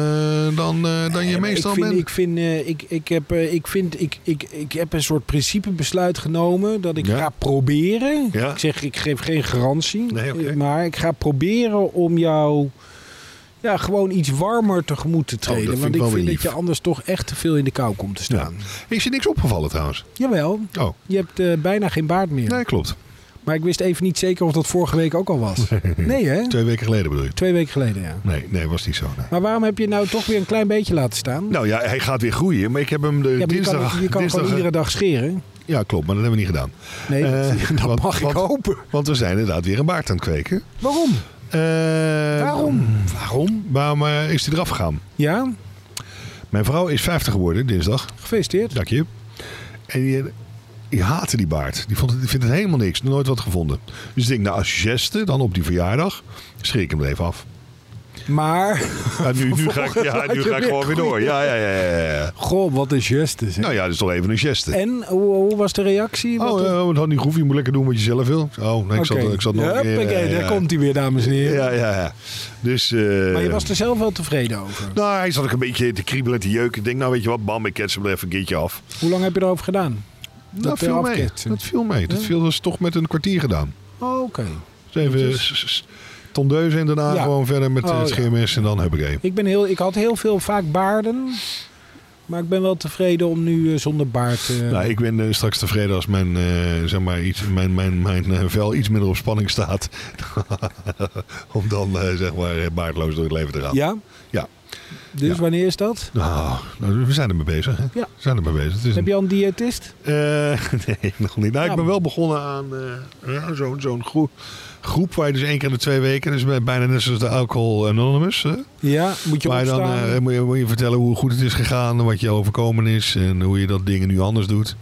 [SPEAKER 4] dan, eh, dan je
[SPEAKER 1] Ja, maar
[SPEAKER 4] meestal
[SPEAKER 1] ik vind,
[SPEAKER 4] bent.
[SPEAKER 1] Ik, vind, eh, ik, ik, heb, eh, ik, vind ik, ik, ik heb een soort principebesluit genomen dat ik
[SPEAKER 4] Ja.
[SPEAKER 1] ga proberen.
[SPEAKER 4] Ja.
[SPEAKER 1] Ik zeg, ik geef geen garantie.
[SPEAKER 4] Nee, oké.
[SPEAKER 1] eh, Maar ik ga proberen om jou ja, gewoon iets warmer tegemoet te treden.
[SPEAKER 4] Oh, vind
[SPEAKER 1] want
[SPEAKER 4] ik
[SPEAKER 1] ik
[SPEAKER 4] wel
[SPEAKER 1] vind
[SPEAKER 4] weer
[SPEAKER 1] dat je
[SPEAKER 4] lief.
[SPEAKER 1] anders toch echt te veel in de kou komt te staan.
[SPEAKER 4] Is je niks opgevallen trouwens?
[SPEAKER 1] Jawel,
[SPEAKER 4] Oh,
[SPEAKER 1] je hebt eh, bijna geen baard meer.
[SPEAKER 4] nee, klopt.
[SPEAKER 1] Maar ik wist even niet zeker of dat vorige week ook al was. Nee hè?
[SPEAKER 4] Twee weken geleden bedoel je?
[SPEAKER 1] Twee weken geleden, ja.
[SPEAKER 4] Nee, nee, was niet zo. nee.
[SPEAKER 1] Maar waarom heb je nou toch weer een klein beetje laten staan?
[SPEAKER 4] Nou ja, hij gaat weer groeien, maar ik heb hem
[SPEAKER 1] ja,
[SPEAKER 4] de
[SPEAKER 1] maar je kan,
[SPEAKER 4] dinsdag...
[SPEAKER 1] je kan
[SPEAKER 4] dinsdag-
[SPEAKER 1] gewoon iedere dag scheren.
[SPEAKER 4] Ja, klopt, maar dat hebben we niet gedaan.
[SPEAKER 1] Nee,
[SPEAKER 4] Eh,
[SPEAKER 1] dat
[SPEAKER 4] want-
[SPEAKER 1] mag ik
[SPEAKER 4] want-
[SPEAKER 1] hopen.
[SPEAKER 4] Want we zijn inderdaad weer een baard aan het kweken.
[SPEAKER 1] Waarom?
[SPEAKER 4] Eh,
[SPEAKER 1] Ehm, Waarom?
[SPEAKER 4] Waarom? Waarom eh, is hij eraf gegaan?
[SPEAKER 1] Ja,
[SPEAKER 4] Mijn vrouw is 50 geworden dinsdag.
[SPEAKER 1] gefeliciteerd.
[SPEAKER 4] Dank je. En die, die haatte die baard. Die, vond het, die vindt het helemaal niks. Nooit wat gevonden. Dus ik denk, nou, als geste, dan op die verjaardag, schrik ik hem er
[SPEAKER 1] (laughs)
[SPEAKER 4] even af.
[SPEAKER 1] Maar,
[SPEAKER 4] Ja, nu, nu ga ik, ja,
[SPEAKER 1] Vervolgens
[SPEAKER 4] nu
[SPEAKER 1] had je
[SPEAKER 4] ga ik gewoon
[SPEAKER 1] weer
[SPEAKER 4] weer door. Ja, ja, ja, ja, ja.
[SPEAKER 1] goh, wat een geste. zeg.
[SPEAKER 4] Nou ja, dat is toch even een geste.
[SPEAKER 1] En eh, hoe, hoe was de reactie? Wat
[SPEAKER 4] Oh,
[SPEAKER 1] een-
[SPEAKER 4] ja, dat had niet hoeven. Je moet lekker doen wat je zelf wil. Oh, nee, ik zat,
[SPEAKER 1] Oké.
[SPEAKER 4] ik zat nog een keer,
[SPEAKER 1] Huppakee,
[SPEAKER 4] eh,
[SPEAKER 1] daar
[SPEAKER 4] ja.
[SPEAKER 1] komt hij weer, dames en heren.
[SPEAKER 4] Ja, ja, ja. Dus, eh,
[SPEAKER 1] Maar je was er zelf wel tevreden over.
[SPEAKER 4] Nou, hij zat ook een beetje te kriebelen, te jeuken. Ik denk, nou weet je wat, bam, ik ket hem er even een keertje af.
[SPEAKER 1] Hoe lang heb je erover gedaan?
[SPEAKER 4] Dat,
[SPEAKER 1] Dat
[SPEAKER 4] viel
[SPEAKER 1] hij
[SPEAKER 4] mee.
[SPEAKER 1] afketsen.
[SPEAKER 4] Dat viel mee. Dat
[SPEAKER 1] Ja.
[SPEAKER 4] viel dus toch met een kwartier gedaan.
[SPEAKER 1] Oh, Oké.
[SPEAKER 4] Dus even
[SPEAKER 1] is-
[SPEAKER 4] s- s- s- tondeuzen en daarna
[SPEAKER 1] Ja.
[SPEAKER 4] gewoon verder met
[SPEAKER 1] Oh,
[SPEAKER 4] eh, het
[SPEAKER 1] ja.
[SPEAKER 4] scheermes en dan heb ik één.
[SPEAKER 1] Ik, ben heel, ik had heel veel vaak baarden. Maar ik ben wel tevreden om nu eh, zonder baard... eh,
[SPEAKER 4] Nou, ik ben eh, straks tevreden als mijn, eh, zeg maar iets, mijn, mijn, mijn eh, vel iets minder op spanning staat. (laughs) Om dan eh, zeg maar eh, baardloos door het leven te gaan.
[SPEAKER 1] Ja?
[SPEAKER 4] Ja.
[SPEAKER 1] Dus
[SPEAKER 4] Ja.
[SPEAKER 1] wanneer is dat?
[SPEAKER 4] Nou, nou, we zijn er mee bezig. Hè?
[SPEAKER 1] Ja.
[SPEAKER 4] We zijn er mee bezig. Het is
[SPEAKER 1] Heb
[SPEAKER 4] een-
[SPEAKER 1] je al een diëtist?
[SPEAKER 4] Eh, (laughs) nee, nog niet. Nou,
[SPEAKER 1] Ja.
[SPEAKER 4] ik ben wel begonnen aan eh, ja, zo'n zo'n groe- groep waar je dus één keer in de twee weken, dus bij- bijna net zoals de Alcohol Anonymous. hè?
[SPEAKER 1] Ja, moet je
[SPEAKER 4] Maar dan
[SPEAKER 1] opstaan.
[SPEAKER 4] eh, moet, je, moet je vertellen hoe goed het is gegaan, wat je overkomen is en hoe je dat dingen nu anders doet.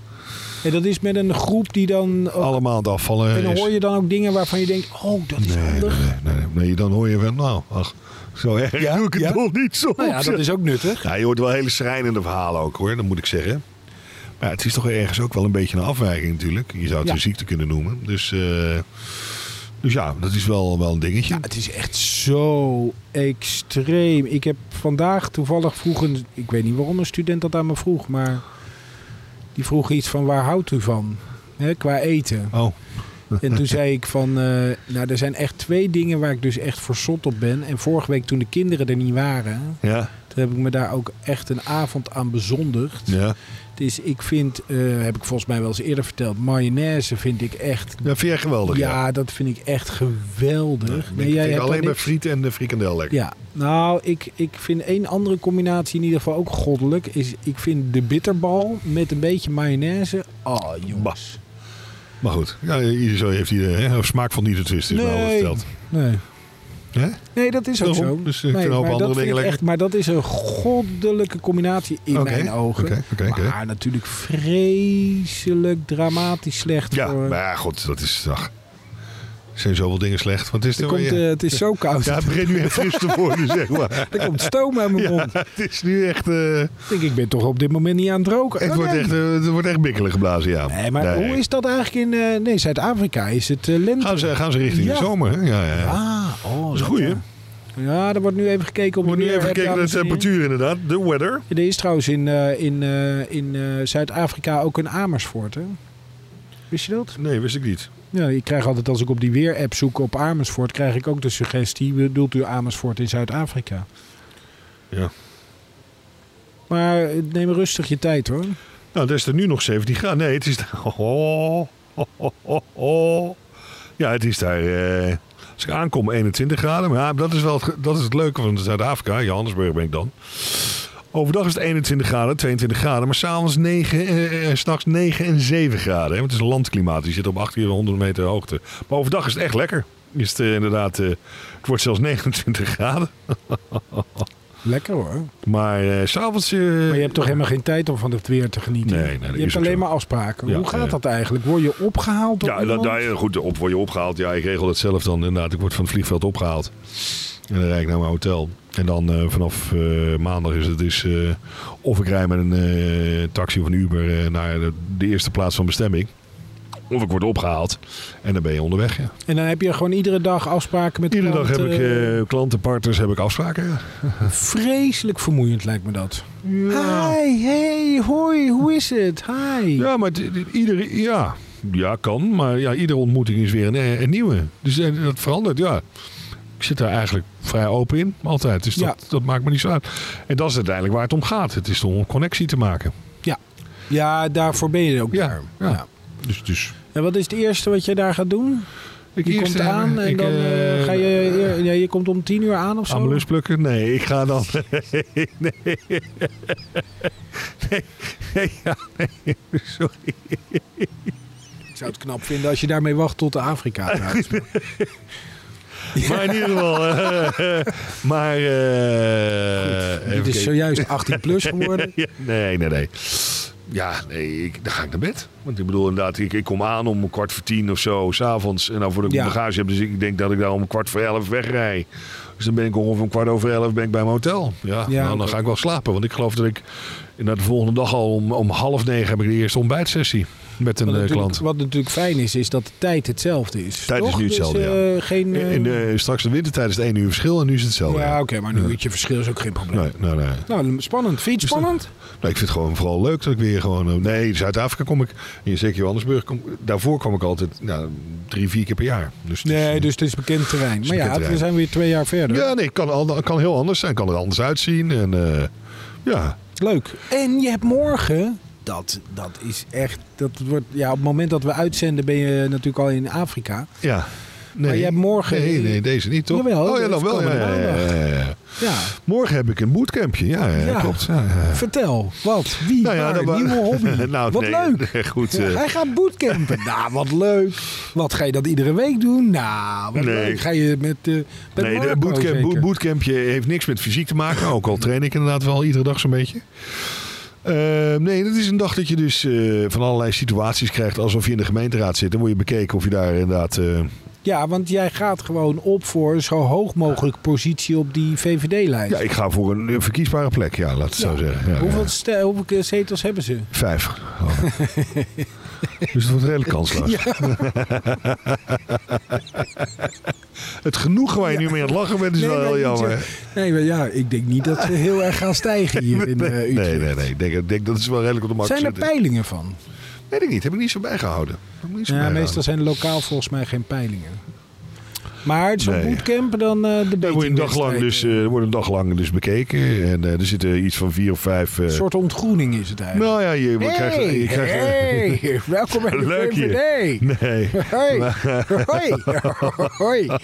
[SPEAKER 1] En dat is met een groep die dan... eh, ook-
[SPEAKER 4] Allemaal aan het afvallen.
[SPEAKER 1] Oh. en dan
[SPEAKER 4] Eh, is-
[SPEAKER 1] hoor je dan ook dingen waarvan je denkt... Oh, dat is
[SPEAKER 4] nee, nee,
[SPEAKER 1] handig.
[SPEAKER 4] nee, nee, nee. Dan hoor je van, nou, ach, zo erg
[SPEAKER 1] Ja,
[SPEAKER 4] doe ik het
[SPEAKER 1] ja.
[SPEAKER 4] nog niet zo.
[SPEAKER 1] Nou ja, dat is ook nuttig.
[SPEAKER 4] Ja, je hoort wel hele schrijnende verhalen ook hoor, dat moet ik zeggen. Maar ja, het is toch ergens ook wel een beetje een afwijking natuurlijk. Je zou het
[SPEAKER 1] Ja.
[SPEAKER 4] een ziekte kunnen noemen. Dus, eh, dus ja, dat is wel, wel een dingetje.
[SPEAKER 1] Ja, het is echt zo extreem. Ik heb vandaag toevallig vroeg een... Ik weet niet waarom een student dat aan me vroeg, maar... Die vroeg iets van waar houdt u van? Hè, qua eten.
[SPEAKER 4] Oh,
[SPEAKER 1] En toen zei ik van... eh, nou, er zijn echt twee dingen waar ik dus echt verzot op ben. En vorige week toen de kinderen er niet waren...
[SPEAKER 4] ja.
[SPEAKER 1] Toen heb ik me daar ook echt een avond aan bezondigd.
[SPEAKER 4] ja.
[SPEAKER 1] Het is, ik vind, eh, heb ik volgens mij wel eens eerder verteld... Mayonaise vind ik echt...
[SPEAKER 4] Dat vind jij geweldig. Ja,
[SPEAKER 1] Ja, dat vind ik echt geweldig.
[SPEAKER 4] Ik vind
[SPEAKER 1] jij hebt daar
[SPEAKER 4] alleen bij
[SPEAKER 1] niks-
[SPEAKER 4] friet en de frikandel lekker.
[SPEAKER 1] ja, nou, ik, ik vind één andere combinatie in ieder geval ook goddelijk. Is, ik vind de bitterbal met een beetje mayonaise. Oh, jongens.
[SPEAKER 4] Maar goed, ja, ieder zo heeft hier hè, of smaak van niet het twist is wel wat
[SPEAKER 1] Nee.
[SPEAKER 4] verteld.
[SPEAKER 1] Nee.
[SPEAKER 4] Hè?
[SPEAKER 1] nee, dat is ook
[SPEAKER 4] Daarom.
[SPEAKER 1] zo.
[SPEAKER 4] Dus, eh, ik
[SPEAKER 1] nee,
[SPEAKER 4] vind een hoop
[SPEAKER 1] maar,
[SPEAKER 4] andere
[SPEAKER 1] dat vind
[SPEAKER 4] dingen
[SPEAKER 1] ik
[SPEAKER 4] lekker.
[SPEAKER 1] echt, maar dat is een goddelijke combinatie in
[SPEAKER 4] Oké,
[SPEAKER 1] mijn ogen.
[SPEAKER 4] Oké, oké, oké.
[SPEAKER 1] Maar natuurlijk vreselijk dramatisch slecht.
[SPEAKER 4] Ja,
[SPEAKER 1] voor,
[SPEAKER 4] maar ja, goed, dat is... Ach, er zijn zoveel dingen slecht. Want het is
[SPEAKER 1] er
[SPEAKER 4] er
[SPEAKER 1] komt,
[SPEAKER 4] weer-
[SPEAKER 1] eh, het is zo koud.
[SPEAKER 4] ja, het begint nu echt fris te
[SPEAKER 1] (laughs)
[SPEAKER 4] worden, zeg maar.
[SPEAKER 1] Er komt stoom uit mijn
[SPEAKER 4] Ja,
[SPEAKER 1] mond.
[SPEAKER 4] het is nu echt... eh,
[SPEAKER 1] Ik denk, ik ben toch op dit moment niet aan het roken.
[SPEAKER 4] Het
[SPEAKER 1] Oh,
[SPEAKER 4] wordt,
[SPEAKER 1] nee.
[SPEAKER 4] echt, eh, het wordt echt bikkelen geblazen, ja.
[SPEAKER 1] Nee, maar hoe is dat eigenlijk in eh, nee, Zuid-Afrika? Is het eh, lente?
[SPEAKER 4] Gaan ze, gaan ze richting
[SPEAKER 1] Ja.
[SPEAKER 4] de zomer, hè? Ja, ja. ja.
[SPEAKER 1] Ah, oh,
[SPEAKER 4] Ah. dat is goed, hè?
[SPEAKER 1] Ja, er wordt nu even gekeken
[SPEAKER 4] We
[SPEAKER 1] op het
[SPEAKER 4] moeten nu
[SPEAKER 1] weer,
[SPEAKER 4] even
[SPEAKER 1] hè,
[SPEAKER 4] kijken naar de
[SPEAKER 1] dames en heren.
[SPEAKER 4] temperatuur, inderdaad. De weather.
[SPEAKER 1] Er is trouwens in, eh, in, eh, in eh, Zuid-Afrika ook een Amersfoort, hè? Wist je dat?
[SPEAKER 4] Nee, wist ik niet.
[SPEAKER 1] Ja, ik krijg altijd als ik op die weer-app zoek op Amersfoort, krijg ik ook de suggestie, bedoelt u Amersfoort in Zuid-Afrika?
[SPEAKER 4] Ja.
[SPEAKER 1] Maar eh, neem rustig je tijd, hoor.
[SPEAKER 4] Nou, dan is er nu nog 17 graden. Nee, het is daar... (laughs) Oh, oh, oh, oh. Ja, het is daar... eh, als ik aankom, 21 graden. Maar ja, dat is wel het, ge- dat is het leuke van Zuid-Afrika. Johannesburg ben ik dan. Overdag is het 21 graden, 22 graden. Maar s'avonds 9, eh, eh, s'nachts 9 en 7 graden. Hè? Want het is een landklimaat. dus Je zit op 1800 meter hoogte. Maar overdag is het echt lekker. Is het eh, inderdaad... eh, het wordt zelfs (laughs) 29 graden.
[SPEAKER 1] Lekker, hoor.
[SPEAKER 4] Maar eh, s'avonds... eh,
[SPEAKER 1] Maar je hebt toch helemaal geen tijd om van het weer te genieten?
[SPEAKER 4] Nee, nee, dat
[SPEAKER 1] je
[SPEAKER 4] is
[SPEAKER 1] hebt
[SPEAKER 4] ook
[SPEAKER 1] alleen
[SPEAKER 4] zo.
[SPEAKER 1] maar afspraken.
[SPEAKER 4] Ja,
[SPEAKER 1] Hoe gaat
[SPEAKER 4] ja.
[SPEAKER 1] dat eigenlijk? Word je opgehaald? door
[SPEAKER 4] Ja, dat,
[SPEAKER 1] iemand?
[SPEAKER 4] daar, eh, goed, op word je opgehaald. Ja, ik regel dat zelf dan. Inderdaad, ik word van het vliegveld opgehaald. En dan rijd ik naar mijn hotel. En dan eh, vanaf eh, maandag is het dus... eh, of ik rij met een eh, taxi of een Uber eh, naar de, de eerste plaats van bestemming. Of ik word opgehaald. En dan ben je onderweg, ja.
[SPEAKER 1] En dan heb je gewoon iedere dag afspraken met
[SPEAKER 4] Iedere dag
[SPEAKER 1] klanten.
[SPEAKER 4] heb ik eh, klanten, partners, heb ik afspraken. ja.
[SPEAKER 1] Vreselijk vermoeiend lijkt me dat. Hi, hey, hoi, hoe is het? Hi.
[SPEAKER 4] Ja, maar het- het- iedere, ja, ja, kan. Maar ja, iedere ontmoeting is weer een, een nieuwe. Dus eh, dat verandert, ja. Ik zit daar eigenlijk vrij open in, altijd. Dus dat,
[SPEAKER 1] Ja.
[SPEAKER 4] dat maakt me niet zo uit. En dat is uiteindelijk waar het om gaat. Het is om een connectie te maken.
[SPEAKER 1] Ja, daarvoor ben je ook
[SPEAKER 4] Ja,
[SPEAKER 1] daar.
[SPEAKER 4] ja. Dus, dus
[SPEAKER 1] En wat is het eerste wat je daar gaat doen?
[SPEAKER 4] ik
[SPEAKER 1] Je
[SPEAKER 4] eerst,
[SPEAKER 1] komt
[SPEAKER 4] eh,
[SPEAKER 1] aan en
[SPEAKER 4] ik,
[SPEAKER 1] dan eh,
[SPEAKER 4] eh,
[SPEAKER 1] ga je... eer- ja, je komt om tien uur aan of zo?
[SPEAKER 4] Amelus plukken? Nee, ik
[SPEAKER 1] (laughs)
[SPEAKER 4] ga dan. Nee, nee. Nee, ja, nee. Sorry.
[SPEAKER 1] Ik zou het knap vinden als je daarmee wacht tot Afrika
[SPEAKER 4] (laughs)
[SPEAKER 1] gaat.
[SPEAKER 4] Maar in ieder geval. eh, eh, maar. eh, even
[SPEAKER 1] Dit is
[SPEAKER 4] kijken. (laughs)
[SPEAKER 1] zojuist 18 plus geworden.
[SPEAKER 4] Ja, nee, nee, nee. ja, nee, ik, dan ga ik naar bed. Want ik bedoel inderdaad, ik, ik kom aan om kwart voor tien of zo, s'avonds. En dan voordat ik
[SPEAKER 1] Ja.
[SPEAKER 4] mijn bagage heb, dus ik denk dat ik daar om kwart voor elf wegrij. Dus dan ben ik ongeveer om kwart over elf ben ik bij mijn hotel. Ja,
[SPEAKER 1] Ja.
[SPEAKER 4] nou, dan ga ik wel slapen. Want ik geloof dat ik na de volgende dag al om, om half negen heb ik de eerste ontbijtsessie met een
[SPEAKER 1] Wat
[SPEAKER 4] eh,
[SPEAKER 1] natuurlijk,
[SPEAKER 4] klant.
[SPEAKER 1] wat natuurlijk fijn is, is dat de tijd hetzelfde is.
[SPEAKER 4] Tijd is
[SPEAKER 1] toch?
[SPEAKER 4] nu hetzelfde,
[SPEAKER 1] dus, eh, Geen, eh,
[SPEAKER 4] In de, straks de wintertijd is het één uur verschil en nu is het hetzelfde.
[SPEAKER 1] ja,
[SPEAKER 4] ja.
[SPEAKER 1] oké, maar een uurtje verschil is ook geen probleem.
[SPEAKER 4] Nee, nee, nee.
[SPEAKER 1] Nou, spannend. Vind je het spannend?
[SPEAKER 4] Nou, ik vind het gewoon vooral leuk dat ik weer gewoon... eh, Nee, Zuid-Afrika kom ik. en Zeker Johannesburg. Kom, daarvoor kwam ik altijd nou, drie, vier keer per jaar. Dus, het is,
[SPEAKER 1] Nee,
[SPEAKER 4] eh,
[SPEAKER 1] dus het is bekend terrein.
[SPEAKER 4] is
[SPEAKER 1] Maar ja,
[SPEAKER 4] bekend
[SPEAKER 1] we
[SPEAKER 4] terrein.
[SPEAKER 1] zijn weer twee jaar verder.
[SPEAKER 4] Ja, nee, kan, al- kan heel anders zijn. Kan er anders uitzien. En eh, ja,
[SPEAKER 1] Leuk. En je hebt morgen. Dat, dat is echt. Dat wordt, ja, op het moment dat we uitzenden ben je natuurlijk al in Afrika.
[SPEAKER 4] ja. Nee,
[SPEAKER 1] Maar jij hebt morgen-
[SPEAKER 4] Nee, nee, deze niet, toch?
[SPEAKER 1] Jawel,
[SPEAKER 4] oh ja,
[SPEAKER 1] dat
[SPEAKER 4] dan
[SPEAKER 1] is
[SPEAKER 4] wel. Ja,
[SPEAKER 1] komende
[SPEAKER 4] ja, ja, ja, ja.
[SPEAKER 1] Ja.
[SPEAKER 4] Morgen heb ik een bootcampje. Ja, ja,
[SPEAKER 1] Ja.
[SPEAKER 4] klopt. Ja, ja.
[SPEAKER 1] Vertel, wat, wie,
[SPEAKER 4] Nou ja,
[SPEAKER 1] waar,
[SPEAKER 4] dat wa-
[SPEAKER 1] nieuwe hobby.
[SPEAKER 4] (laughs) Nou,
[SPEAKER 1] wat
[SPEAKER 4] nee,
[SPEAKER 1] leuk.
[SPEAKER 4] nee, (laughs) goed,
[SPEAKER 1] Ja,
[SPEAKER 4] eh.
[SPEAKER 1] hij gaat bootcampen. nou, wat leuk. Wat ga je dat iedere week doen? Nou, wat
[SPEAKER 4] Nee.
[SPEAKER 1] leuk. Ga je met, eh met
[SPEAKER 4] nee,
[SPEAKER 1] Marco
[SPEAKER 4] de bootcamp,
[SPEAKER 1] zeker?
[SPEAKER 4] boot- bootcampje heeft niks met fysiek te maken. Ook al train ik inderdaad wel iedere dag zo'n beetje. Eh, nee, dat is een dag dat je dus eh, van allerlei situaties krijgt alsof je in de gemeenteraad zit. Dan word je bekeken of je daar inderdaad... eh,
[SPEAKER 1] Ja, want jij gaat gewoon op voor zo hoog mogelijk positie op die VVD-lijst.
[SPEAKER 4] ja, ik ga voor een eh, verkiesbare plek. Ja, laat het zo zeggen. Ja,
[SPEAKER 1] hoeveel,
[SPEAKER 4] ja.
[SPEAKER 1] ste- hoeveel keer zetels hebben ze?
[SPEAKER 4] Vijf. Oh.
[SPEAKER 1] (laughs)
[SPEAKER 4] dus het wordt redelijk kansloos. het genoegen waar je nu mee aan het lachen bent is wel
[SPEAKER 1] maar
[SPEAKER 4] heel
[SPEAKER 1] niet zo-
[SPEAKER 4] jammer.
[SPEAKER 1] Nee, maar ja, ik denk niet dat ze heel erg gaan stijgen hier in eh
[SPEAKER 4] (laughs) Nee,
[SPEAKER 1] Utrecht.
[SPEAKER 4] nee, nee. Ik denk, ik denk dat is wel redelijk op de markt
[SPEAKER 1] Zijn er
[SPEAKER 4] zitten.
[SPEAKER 1] peilingen van?
[SPEAKER 4] Weet ik niet. Heb ik niet zo bijgehouden. Heb ik niet zo
[SPEAKER 1] Ja,
[SPEAKER 4] bijgehouden.
[SPEAKER 1] meestal zijn er lokaal volgens mij geen peilingen. Maar zo'n
[SPEAKER 4] Nee.
[SPEAKER 1] bootcamp dan eh de
[SPEAKER 4] Er
[SPEAKER 1] betere
[SPEAKER 4] wordt een dag lang dus, eh, er wordt een dag lang dus bekeken. En eh, er zitten iets van vier of vijf... eh,
[SPEAKER 1] Een Mm. soort ontgroening is het eigenlijk.
[SPEAKER 4] nou ja, je
[SPEAKER 1] hey,
[SPEAKER 4] krijgt... Je krijgt (laughs)
[SPEAKER 1] hey, welkom bij de
[SPEAKER 4] Leuk je.
[SPEAKER 1] VVD.
[SPEAKER 4] Nee.
[SPEAKER 1] Hoi,
[SPEAKER 4] (laughs)
[SPEAKER 1] hoi, hoi. (laughs)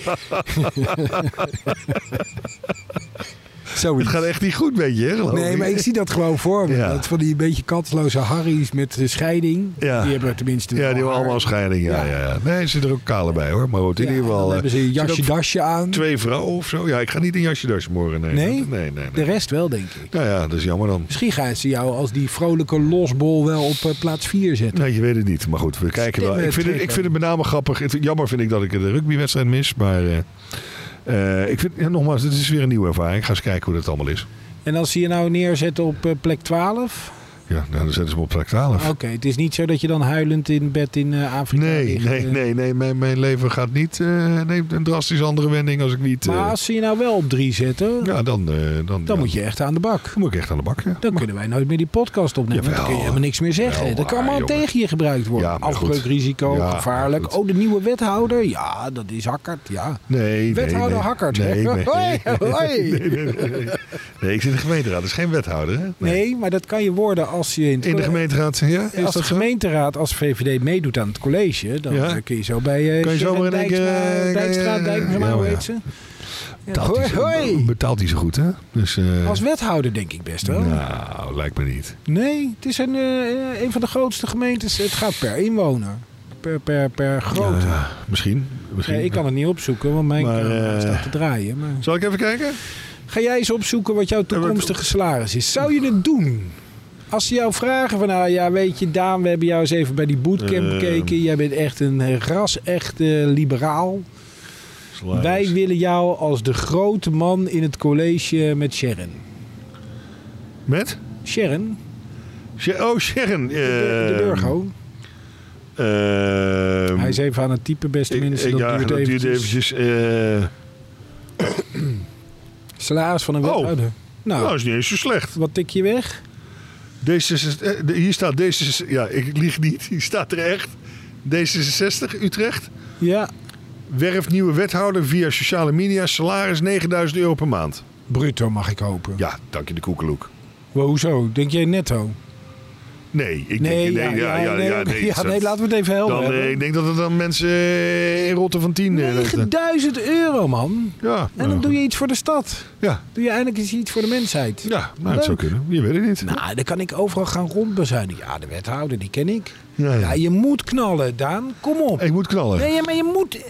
[SPEAKER 4] Het
[SPEAKER 1] Zoiets.
[SPEAKER 4] gaat echt niet goed met je, hè, geloof
[SPEAKER 1] Nee,
[SPEAKER 4] ik.
[SPEAKER 1] maar ik zie dat gewoon voor me.
[SPEAKER 4] Oh, Ja.
[SPEAKER 1] Dat van die beetje kansloze Harry's met de scheiding.
[SPEAKER 4] Ja.
[SPEAKER 1] Die hebben tenminste
[SPEAKER 4] Ja,
[SPEAKER 1] wel
[SPEAKER 4] die hebben
[SPEAKER 1] haar.
[SPEAKER 4] allemaal scheiding. Ja,
[SPEAKER 1] Ja.
[SPEAKER 4] ja. ja. Nee, er zitten er ook kale bij hoor. Maar goed, in
[SPEAKER 1] Ja,
[SPEAKER 4] ieder
[SPEAKER 1] dan
[SPEAKER 4] geval. eh,
[SPEAKER 1] hebben ze een
[SPEAKER 4] zit
[SPEAKER 1] jasje
[SPEAKER 4] ook
[SPEAKER 1] dasje aan.
[SPEAKER 4] Twee vrouwen of zo. Ja, ik ga niet in jasje dasje morgen. Nee,
[SPEAKER 1] Nee?
[SPEAKER 4] Dat- nee, nee.
[SPEAKER 1] De
[SPEAKER 4] nee.
[SPEAKER 1] rest wel, denk ik.
[SPEAKER 4] Nou ja, dat is jammer dan.
[SPEAKER 1] Misschien gaan ze jou als die vrolijke losbol wel op eh, plaats 4 zetten.
[SPEAKER 4] Nou, je weet het niet. Maar goed, we kijken wel.
[SPEAKER 1] Slimme
[SPEAKER 4] Ik vind, het, ik
[SPEAKER 1] trekker.
[SPEAKER 4] vind het met name grappig. Het- jammer vind ik dat ik de rugbywedstrijd mis. Maar eh, eh, ik vind, ja, nogmaals, het is weer een nieuwe ervaring. Ik ga eens kijken hoe dat allemaal is.
[SPEAKER 1] En als ze je nou neerzetten op eh, plek 12?
[SPEAKER 4] Ja, nou, dan zetten ze me op plek 12.
[SPEAKER 1] Oké, het is niet zo dat je dan huilend in bed in eh, Afrika
[SPEAKER 4] Nee,
[SPEAKER 1] ligt,
[SPEAKER 4] nee,
[SPEAKER 1] eh.
[SPEAKER 4] nee, nee. Mijn, mijn leven gaat niet. eh, neemt een drastisch andere wending als ik niet. eh,
[SPEAKER 1] Maar als ze je nou wel op 3 zetten,
[SPEAKER 4] ja, dan, eh, dan,
[SPEAKER 1] dan
[SPEAKER 4] ja,
[SPEAKER 1] moet je echt aan de bak.
[SPEAKER 4] dan moet ik echt aan de bak. Ja.
[SPEAKER 1] Dan kunnen wij nooit meer die podcast opnemen. want dan kun je
[SPEAKER 4] Jawel.
[SPEAKER 1] helemaal niks meer zeggen.
[SPEAKER 4] Wel
[SPEAKER 1] dat kan
[SPEAKER 4] waar,
[SPEAKER 1] allemaal
[SPEAKER 4] jongen.
[SPEAKER 1] tegen je gebruikt worden.
[SPEAKER 4] Ja, maar goed.
[SPEAKER 1] Afbreukrisico,
[SPEAKER 4] Ja, maar
[SPEAKER 1] gevaarlijk.
[SPEAKER 4] goed.
[SPEAKER 1] Oh, de nieuwe wethouder? Ja, dat is Hakkert. Ja.
[SPEAKER 4] Nee,
[SPEAKER 1] Wethouder
[SPEAKER 4] nee, nee.
[SPEAKER 1] Hakkert.
[SPEAKER 4] Nee,
[SPEAKER 1] hè?
[SPEAKER 4] nee,
[SPEAKER 1] (laughs) Hoi,
[SPEAKER 4] (laughs)
[SPEAKER 1] hoi.
[SPEAKER 4] nee, ik zit in de gemeenteraad. Dat is geen wethouder, hè?
[SPEAKER 1] Nee. maar dat kan je worden als je in, het
[SPEAKER 4] In de
[SPEAKER 1] colle-
[SPEAKER 4] gemeenteraad, ja? Is
[SPEAKER 1] Als de
[SPEAKER 4] dat zo?
[SPEAKER 1] gemeenteraad als VVD meedoet aan het college, dan
[SPEAKER 4] Ja.
[SPEAKER 1] eh, kun je zo bij eh
[SPEAKER 4] Kan je zomaar in één keer,
[SPEAKER 1] Dijkstra,
[SPEAKER 4] eh,
[SPEAKER 1] Dijkstra,
[SPEAKER 4] kan je-
[SPEAKER 1] Dijkstra,
[SPEAKER 4] Ja,
[SPEAKER 1] hoe
[SPEAKER 4] maar
[SPEAKER 1] heet ze?
[SPEAKER 4] ja.
[SPEAKER 1] Ja,
[SPEAKER 4] Betaalt
[SPEAKER 1] Hoi,
[SPEAKER 4] hij zo-
[SPEAKER 1] hoi.
[SPEAKER 4] Betaalt hij zo goed, hè? Dus, eh,
[SPEAKER 1] Als wethouder denk ik best wel.
[SPEAKER 4] Nou, lijkt me niet.
[SPEAKER 1] Nee, het is een, eh, een van de grootste gemeentes. Het gaat per inwoner. Per, per, per grootte.
[SPEAKER 4] Ja, misschien. misschien.
[SPEAKER 1] Nee, ik kan het niet opzoeken, want mijn
[SPEAKER 4] Maar,
[SPEAKER 1] camera
[SPEAKER 4] eh,
[SPEAKER 1] staat te draaien. Maar...
[SPEAKER 4] Zal ik even kijken?
[SPEAKER 1] Ga jij eens opzoeken wat jouw toekomstige salaris is? Zou je het doen? Als ze jou vragen van, nou ja, weet je, Daan, we hebben jou eens even bij die bootcamp
[SPEAKER 4] Eh.
[SPEAKER 1] bekeken. Jij bent echt een eh, ras-echte liberaal.
[SPEAKER 4] Salaris.
[SPEAKER 1] Wij willen jou als de grote man in het college met Sharon.
[SPEAKER 4] Met?
[SPEAKER 1] Sharon,
[SPEAKER 4] Sher- Oh, Sharon. ehm,
[SPEAKER 1] de, de Burgo. Hij is even aan het typen, beste mensen. Dat
[SPEAKER 4] ja,
[SPEAKER 1] duurt
[SPEAKER 4] dat
[SPEAKER 1] eventjes.
[SPEAKER 4] duurt eventjes. eh,
[SPEAKER 1] Salaris van een
[SPEAKER 4] Oh.
[SPEAKER 1] wethouder. Nou,
[SPEAKER 4] Nou, is niet eens zo slecht.
[SPEAKER 1] wat tik je weg?
[SPEAKER 4] D66, eh, de- hier staat D66, ja, ik lieg niet, (laughs) hier staat er echt. D66 Utrecht
[SPEAKER 1] Ja,
[SPEAKER 4] werft nieuwe wethouder via sociale media, salaris 9000 euro per maand.
[SPEAKER 1] bruto mag ik hopen.
[SPEAKER 4] Ja, dank je de koekeloek.
[SPEAKER 1] Wow, hoezo? Denk jij netto?
[SPEAKER 4] Nee, ik
[SPEAKER 1] Nee,
[SPEAKER 4] denk,
[SPEAKER 1] ja, ja, nee,
[SPEAKER 4] nee,
[SPEAKER 1] (laughs) ja,
[SPEAKER 4] dat-
[SPEAKER 1] nee, laten Oh, we het even helder
[SPEAKER 4] dan, eh,
[SPEAKER 1] hebben.
[SPEAKER 4] Ik denk dat het dan mensen eh, in rotte van 10 eh, leggen.
[SPEAKER 1] 9000 euro, man.
[SPEAKER 4] Ja,
[SPEAKER 1] En dan doe je iets voor de stad.
[SPEAKER 4] ja,
[SPEAKER 1] Doe je eindelijk eens iets voor de mensheid.
[SPEAKER 4] ja nou, het zou
[SPEAKER 1] Leuk.
[SPEAKER 4] kunnen. Je weet het niet.
[SPEAKER 1] Nou, dan kan ik overal gaan rondbezuinigen. Ja, de wethouder, die ken ik.
[SPEAKER 4] Ja, ja.
[SPEAKER 1] Ja, je moet knallen, Daan. Kom op.
[SPEAKER 4] Ik moet knallen.
[SPEAKER 1] Nee, maar je moet... eh,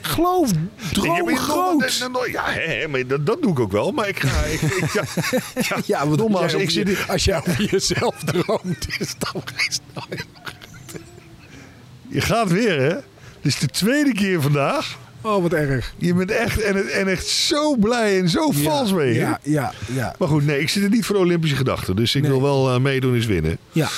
[SPEAKER 1] geloof, droom
[SPEAKER 4] Ja, maar je-
[SPEAKER 1] groot.
[SPEAKER 4] dan- dan- dan- Ja, hè, maar dat, dat doe ik ook wel. Maar ik
[SPEAKER 1] (laughs)
[SPEAKER 4] ga... Ik, ik- ja, ja,
[SPEAKER 1] Ja, want
[SPEAKER 4] nogmaals,
[SPEAKER 1] jij over
[SPEAKER 4] ik zit...
[SPEAKER 1] je-
[SPEAKER 4] hier-
[SPEAKER 1] als jij over jezelf (laughs) droomt, is dat geen snel.
[SPEAKER 4] Je gaat weer, hè? Dit is de tweede keer vandaag.
[SPEAKER 1] Oh, wat erg.
[SPEAKER 4] Je bent echt, en, het- en echt zo blij en zo vals mee. hè?
[SPEAKER 1] Ja, ja, ja.
[SPEAKER 4] Maar goed, nee, ik zit er niet voor Olympische gedachten. Dus ik wil wel eh, meedoen is winnen.
[SPEAKER 1] ja.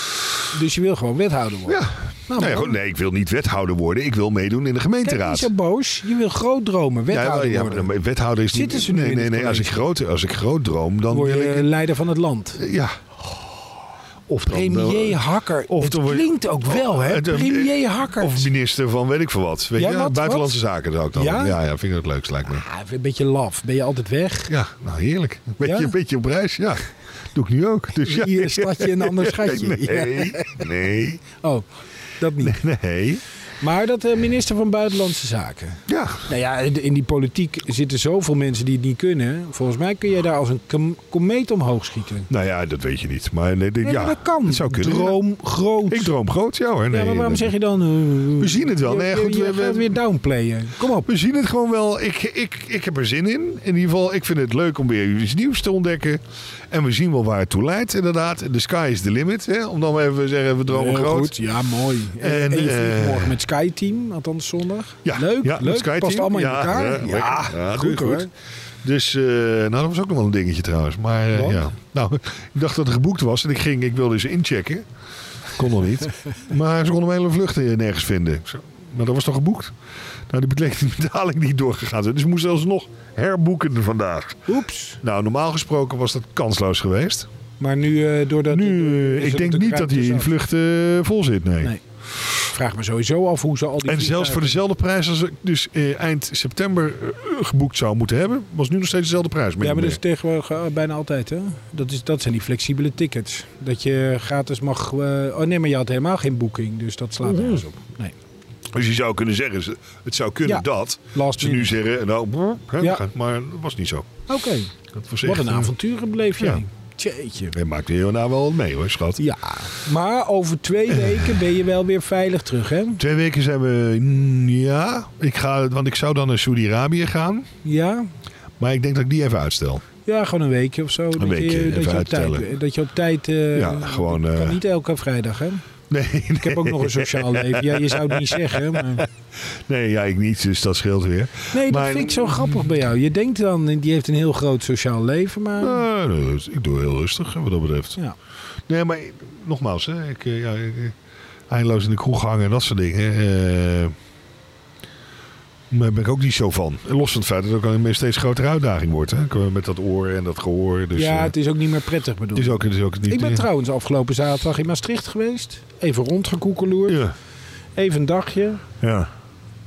[SPEAKER 1] Dus je wil gewoon wethouder worden.
[SPEAKER 4] Ja.
[SPEAKER 1] Nou,
[SPEAKER 4] nee,
[SPEAKER 1] maar-
[SPEAKER 4] goed, nee, ik wil niet wethouder worden. Ik wil meedoen in de
[SPEAKER 1] Kijk, niet
[SPEAKER 4] gemeenteraad.
[SPEAKER 1] zo boos. Je wil groot dromen,
[SPEAKER 4] ja,
[SPEAKER 1] wethouder
[SPEAKER 4] ja,
[SPEAKER 1] worden.
[SPEAKER 4] maar wethouder is
[SPEAKER 1] Zitten
[SPEAKER 4] niet...
[SPEAKER 1] ze nu
[SPEAKER 4] nee,
[SPEAKER 1] in
[SPEAKER 4] nee,
[SPEAKER 1] het
[SPEAKER 4] nee. Als ik,
[SPEAKER 1] college?
[SPEAKER 4] groot, als ik groot droom, dan
[SPEAKER 1] Word
[SPEAKER 4] wil
[SPEAKER 1] je
[SPEAKER 4] ik...
[SPEAKER 1] leider van het land.
[SPEAKER 4] Ja. Of dan,
[SPEAKER 1] Premier Hakker.
[SPEAKER 4] of
[SPEAKER 1] het
[SPEAKER 4] dan word je-
[SPEAKER 1] klinkt ook wel, hè?
[SPEAKER 4] Het, eh,
[SPEAKER 1] Premier Hakker.
[SPEAKER 4] Of minister van weet ik veel wat. Weet
[SPEAKER 1] Ja,
[SPEAKER 4] je?
[SPEAKER 1] wat,
[SPEAKER 4] Buitenlandse zaken zou ik dan.
[SPEAKER 1] Ja?
[SPEAKER 4] Ja? Ja, vind ik het leukst lijkt me.
[SPEAKER 1] Ah, een beetje laf. Ben je altijd weg?
[SPEAKER 4] Ja, nou heerlijk. Een beetje,
[SPEAKER 1] Ja?
[SPEAKER 4] een beetje op reis, ja. Doe ik nu ook. Dus ja.
[SPEAKER 1] Hier een
[SPEAKER 4] (laughs)
[SPEAKER 1] stadje en een ander schatje.
[SPEAKER 4] Nee, nee,
[SPEAKER 1] Oh, dat niet.
[SPEAKER 4] nee.
[SPEAKER 1] Maar dat eh, minister van Buitenlandse Zaken.
[SPEAKER 4] Ja,
[SPEAKER 1] Nou ja, in in die politiek zitten zoveel mensen die het niet kunnen. Volgens mij kun je daar als een kom- komeet omhoog schieten.
[SPEAKER 4] nou ja, dat weet je niet. Maar nee, dit-
[SPEAKER 1] Nee,
[SPEAKER 4] ja,
[SPEAKER 1] maar dat kan.
[SPEAKER 4] het zou kunnen.
[SPEAKER 1] Droom groot.
[SPEAKER 4] Ik droom groot, ja hoor. Nee,
[SPEAKER 1] ja, maar waarom
[SPEAKER 4] dat-
[SPEAKER 1] zeg je dan... eh,
[SPEAKER 4] We zien het wel.
[SPEAKER 1] je-
[SPEAKER 4] Nee,
[SPEAKER 1] je-
[SPEAKER 4] goed,
[SPEAKER 1] je
[SPEAKER 4] we- we-
[SPEAKER 1] gaat weer downplayen. Kom op.
[SPEAKER 4] We zien het gewoon wel. Ik, ik, ik heb er zin in. In ieder geval, ik vind het leuk om weer iets nieuws te ontdekken. En we zien wel waar het toe leidt, inderdaad. The sky is the limit. Hè? Om dan maar even te zeggen, we dromen
[SPEAKER 1] Heel
[SPEAKER 4] groot.
[SPEAKER 1] goed, ja, mooi. En,
[SPEAKER 4] En,
[SPEAKER 1] en je vliegt
[SPEAKER 4] eh,
[SPEAKER 1] morgen met Skyteam, althans zondag.
[SPEAKER 4] Ja,
[SPEAKER 1] leuk,
[SPEAKER 4] ja,
[SPEAKER 1] leuk.
[SPEAKER 4] met Sky
[SPEAKER 1] Past
[SPEAKER 4] Team.
[SPEAKER 1] allemaal in
[SPEAKER 4] Ja,
[SPEAKER 1] elkaar.
[SPEAKER 4] Ja, lekker. Ja, goed, goed.
[SPEAKER 1] hoor.
[SPEAKER 4] Dus, eh, nou, dat was ook nog wel een dingetje trouwens. Maar eh,
[SPEAKER 1] Wat?
[SPEAKER 4] ja, nou, (laughs) ik dacht dat het geboekt was en ik ging, ik wilde ze inchecken. Kon nog
[SPEAKER 1] (laughs)
[SPEAKER 4] niet. maar ze konden mijn hele vlucht eh, nergens vinden. Ik zo, Maar dat was toch geboekt? Nou, die bleek (laughs) die betaling niet doorgegaan zijn. Dus ik moest zelfs nog herboeken vandaag.
[SPEAKER 1] Oeps.
[SPEAKER 4] Nou, normaal gesproken was dat kansloos geweest.
[SPEAKER 1] Maar nu eh door dat...
[SPEAKER 4] Nu, eh,
[SPEAKER 1] is
[SPEAKER 4] ik
[SPEAKER 1] het
[SPEAKER 4] denk
[SPEAKER 1] de
[SPEAKER 4] niet
[SPEAKER 1] kruid
[SPEAKER 4] dat die
[SPEAKER 1] dus
[SPEAKER 4] in
[SPEAKER 1] af.
[SPEAKER 4] vlucht eh, vol zit, nee.
[SPEAKER 1] Nee. Vraag me sowieso af hoe ze al die
[SPEAKER 4] En zelfs voor
[SPEAKER 1] vliegtuigen-
[SPEAKER 4] dezelfde prijs als ik dus eh, eind september eh, geboekt zou moeten hebben, was nu nog steeds dezelfde prijs. min
[SPEAKER 1] Ja,
[SPEAKER 4] of
[SPEAKER 1] maar dat
[SPEAKER 4] meer.
[SPEAKER 1] is tegenwoordig eh, bijna altijd, hè? Dat, is, dat zijn die flexibele tickets. Dat je gratis mag... eh, oh nee, maar je had helemaal geen boeking, dus dat
[SPEAKER 4] Oh,
[SPEAKER 1] slaat nergens op. Nee.
[SPEAKER 4] Dus je zou kunnen zeggen, ze- het zou kunnen
[SPEAKER 1] Ja.
[SPEAKER 4] dat
[SPEAKER 1] Last
[SPEAKER 4] ze nu
[SPEAKER 1] minute.
[SPEAKER 4] zeggen, nou, brr, hè,
[SPEAKER 1] Ja.
[SPEAKER 4] ga- maar dat was niet zo.
[SPEAKER 1] Oké,
[SPEAKER 4] Dat was
[SPEAKER 1] wat
[SPEAKER 4] echt,
[SPEAKER 1] een
[SPEAKER 4] eh,
[SPEAKER 1] avontuur bleef jij.
[SPEAKER 4] ja.
[SPEAKER 1] Tjeetje.
[SPEAKER 4] Hij maakte heel na wel mee hoor, schat.
[SPEAKER 1] Ja, maar over twee weken ben je wel weer veilig terug, hè?
[SPEAKER 4] Twee weken zijn we, mm, ja, ik ga, want ik zou dan naar Saudi-Arabië gaan,
[SPEAKER 1] Ja?
[SPEAKER 4] maar ik denk dat ik die even uitstel. (laughs)
[SPEAKER 1] Ja, gewoon een weekje of zo. dat
[SPEAKER 4] weekje,
[SPEAKER 1] je,
[SPEAKER 4] even
[SPEAKER 1] dat je op
[SPEAKER 4] uittellen.
[SPEAKER 1] tijd, dat je op tijd... eh,
[SPEAKER 4] Ja, gewoon,
[SPEAKER 1] dat kan
[SPEAKER 4] eh,
[SPEAKER 1] niet elke vrijdag, hè?
[SPEAKER 4] Nee,
[SPEAKER 1] Ik heb ook nog een
[SPEAKER 4] (laughs)
[SPEAKER 1] sociaal leven. Ja, je zou het niet zeggen, maar...
[SPEAKER 4] nee, ja, ik niet, dus dat scheelt weer.
[SPEAKER 1] Nee, dat
[SPEAKER 4] Maar-
[SPEAKER 1] vind ik zo grappig bij jou. Je denkt dan, eh, die heeft een heel groot sociaal leven, maar...
[SPEAKER 4] Eh, nee, dus ik doe heel rustig, eh, wat dat betreft.
[SPEAKER 1] Ja.
[SPEAKER 4] Nee, maar eh, nogmaals, hè, ik, eh, ja, ik, eh, eindeloos in de kroeg hangen en dat soort dingen. eh, daar ben ik ook niet zo van. En Los van het feit dat het ook een steeds grotere uitdaging wordt. Hè? Met dat oor en dat gehoor. Dus,
[SPEAKER 1] ja,
[SPEAKER 4] eh,
[SPEAKER 1] het is ook niet meer prettig
[SPEAKER 4] het
[SPEAKER 1] bedoeld.
[SPEAKER 4] is ook, het is ook niet...
[SPEAKER 1] ik ben
[SPEAKER 4] eh,
[SPEAKER 1] trouwens afgelopen zaterdag in Maastricht geweest. Even rondgekoekeloerd.
[SPEAKER 4] Ja,
[SPEAKER 1] Even een dagje.
[SPEAKER 4] ja.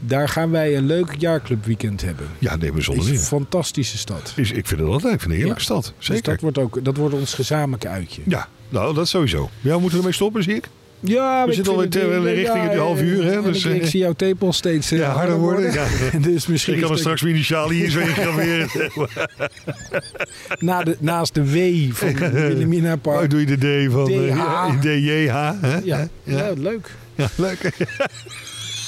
[SPEAKER 1] Daar gaan wij een leuk jaarclubweekend hebben.
[SPEAKER 4] ja nee, maar zonder
[SPEAKER 1] Is een
[SPEAKER 4] meer.
[SPEAKER 1] fantastische stad.
[SPEAKER 4] Is, ik vind het altijd ik vind het een heerlijke
[SPEAKER 1] Ja.
[SPEAKER 4] stad.
[SPEAKER 1] Dus
[SPEAKER 4] Zeker.
[SPEAKER 1] dat wordt, ook, dat wordt ons gezamenlijke uitje.
[SPEAKER 4] Ja, nou, dat sowieso. Ja, we moeten ermee stoppen, zie ik.
[SPEAKER 1] Ja,
[SPEAKER 4] zitten
[SPEAKER 1] al
[SPEAKER 4] alweer te- in de richting het half uur, hè, dus,
[SPEAKER 1] ik, ik
[SPEAKER 4] eh,
[SPEAKER 1] zie jouw tepel steeds eh,
[SPEAKER 4] Ja, harder worden. Ja.
[SPEAKER 1] (laughs) dus misschien
[SPEAKER 4] Ik kan er
[SPEAKER 1] is het
[SPEAKER 4] straks mijn initialen hier zo (laughs) ingraveren.
[SPEAKER 1] ook na de, naast de W van Wilhelmina
[SPEAKER 4] Oh,
[SPEAKER 1] Park.
[SPEAKER 4] doe je de D van eh,
[SPEAKER 1] DH.
[SPEAKER 4] ja, DJH. hè?
[SPEAKER 1] Ja, ja.
[SPEAKER 4] Ja.
[SPEAKER 1] leuk.
[SPEAKER 4] Ja, leuk.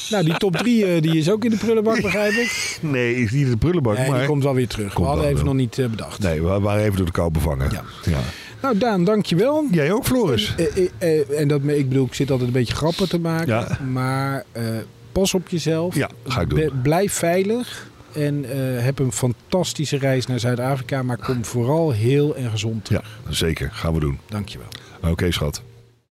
[SPEAKER 1] Nou, die top 3 die is ook in de prullenbak, begrijp ik.
[SPEAKER 4] Nee, is niet in de prullenbak,
[SPEAKER 1] Nee,
[SPEAKER 4] maar...
[SPEAKER 1] die komt wel weer terug. We
[SPEAKER 4] Komt
[SPEAKER 1] hadden
[SPEAKER 4] wel,
[SPEAKER 1] even
[SPEAKER 4] wel.
[SPEAKER 1] nog niet eh, bedacht.
[SPEAKER 4] Nee, we waren even door de kou bevangen.
[SPEAKER 1] Ja.
[SPEAKER 4] Ja.
[SPEAKER 1] Nou, Daan, dankjewel.
[SPEAKER 4] Jij ook, Floris?
[SPEAKER 1] Eh, eh, eh, en dat, me- ik bedoel, ik zit altijd een beetje grappen te maken.
[SPEAKER 4] Ja.
[SPEAKER 1] Maar eh, pas op jezelf.
[SPEAKER 4] Ja, ga ik doen.
[SPEAKER 1] Be- blijf veilig. En eh, heb een fantastische reis naar Zuid-Afrika. Maar kom vooral heel en gezond terug.
[SPEAKER 4] Ja, zeker. Gaan we doen.
[SPEAKER 1] Dankjewel.
[SPEAKER 4] Oké, schat.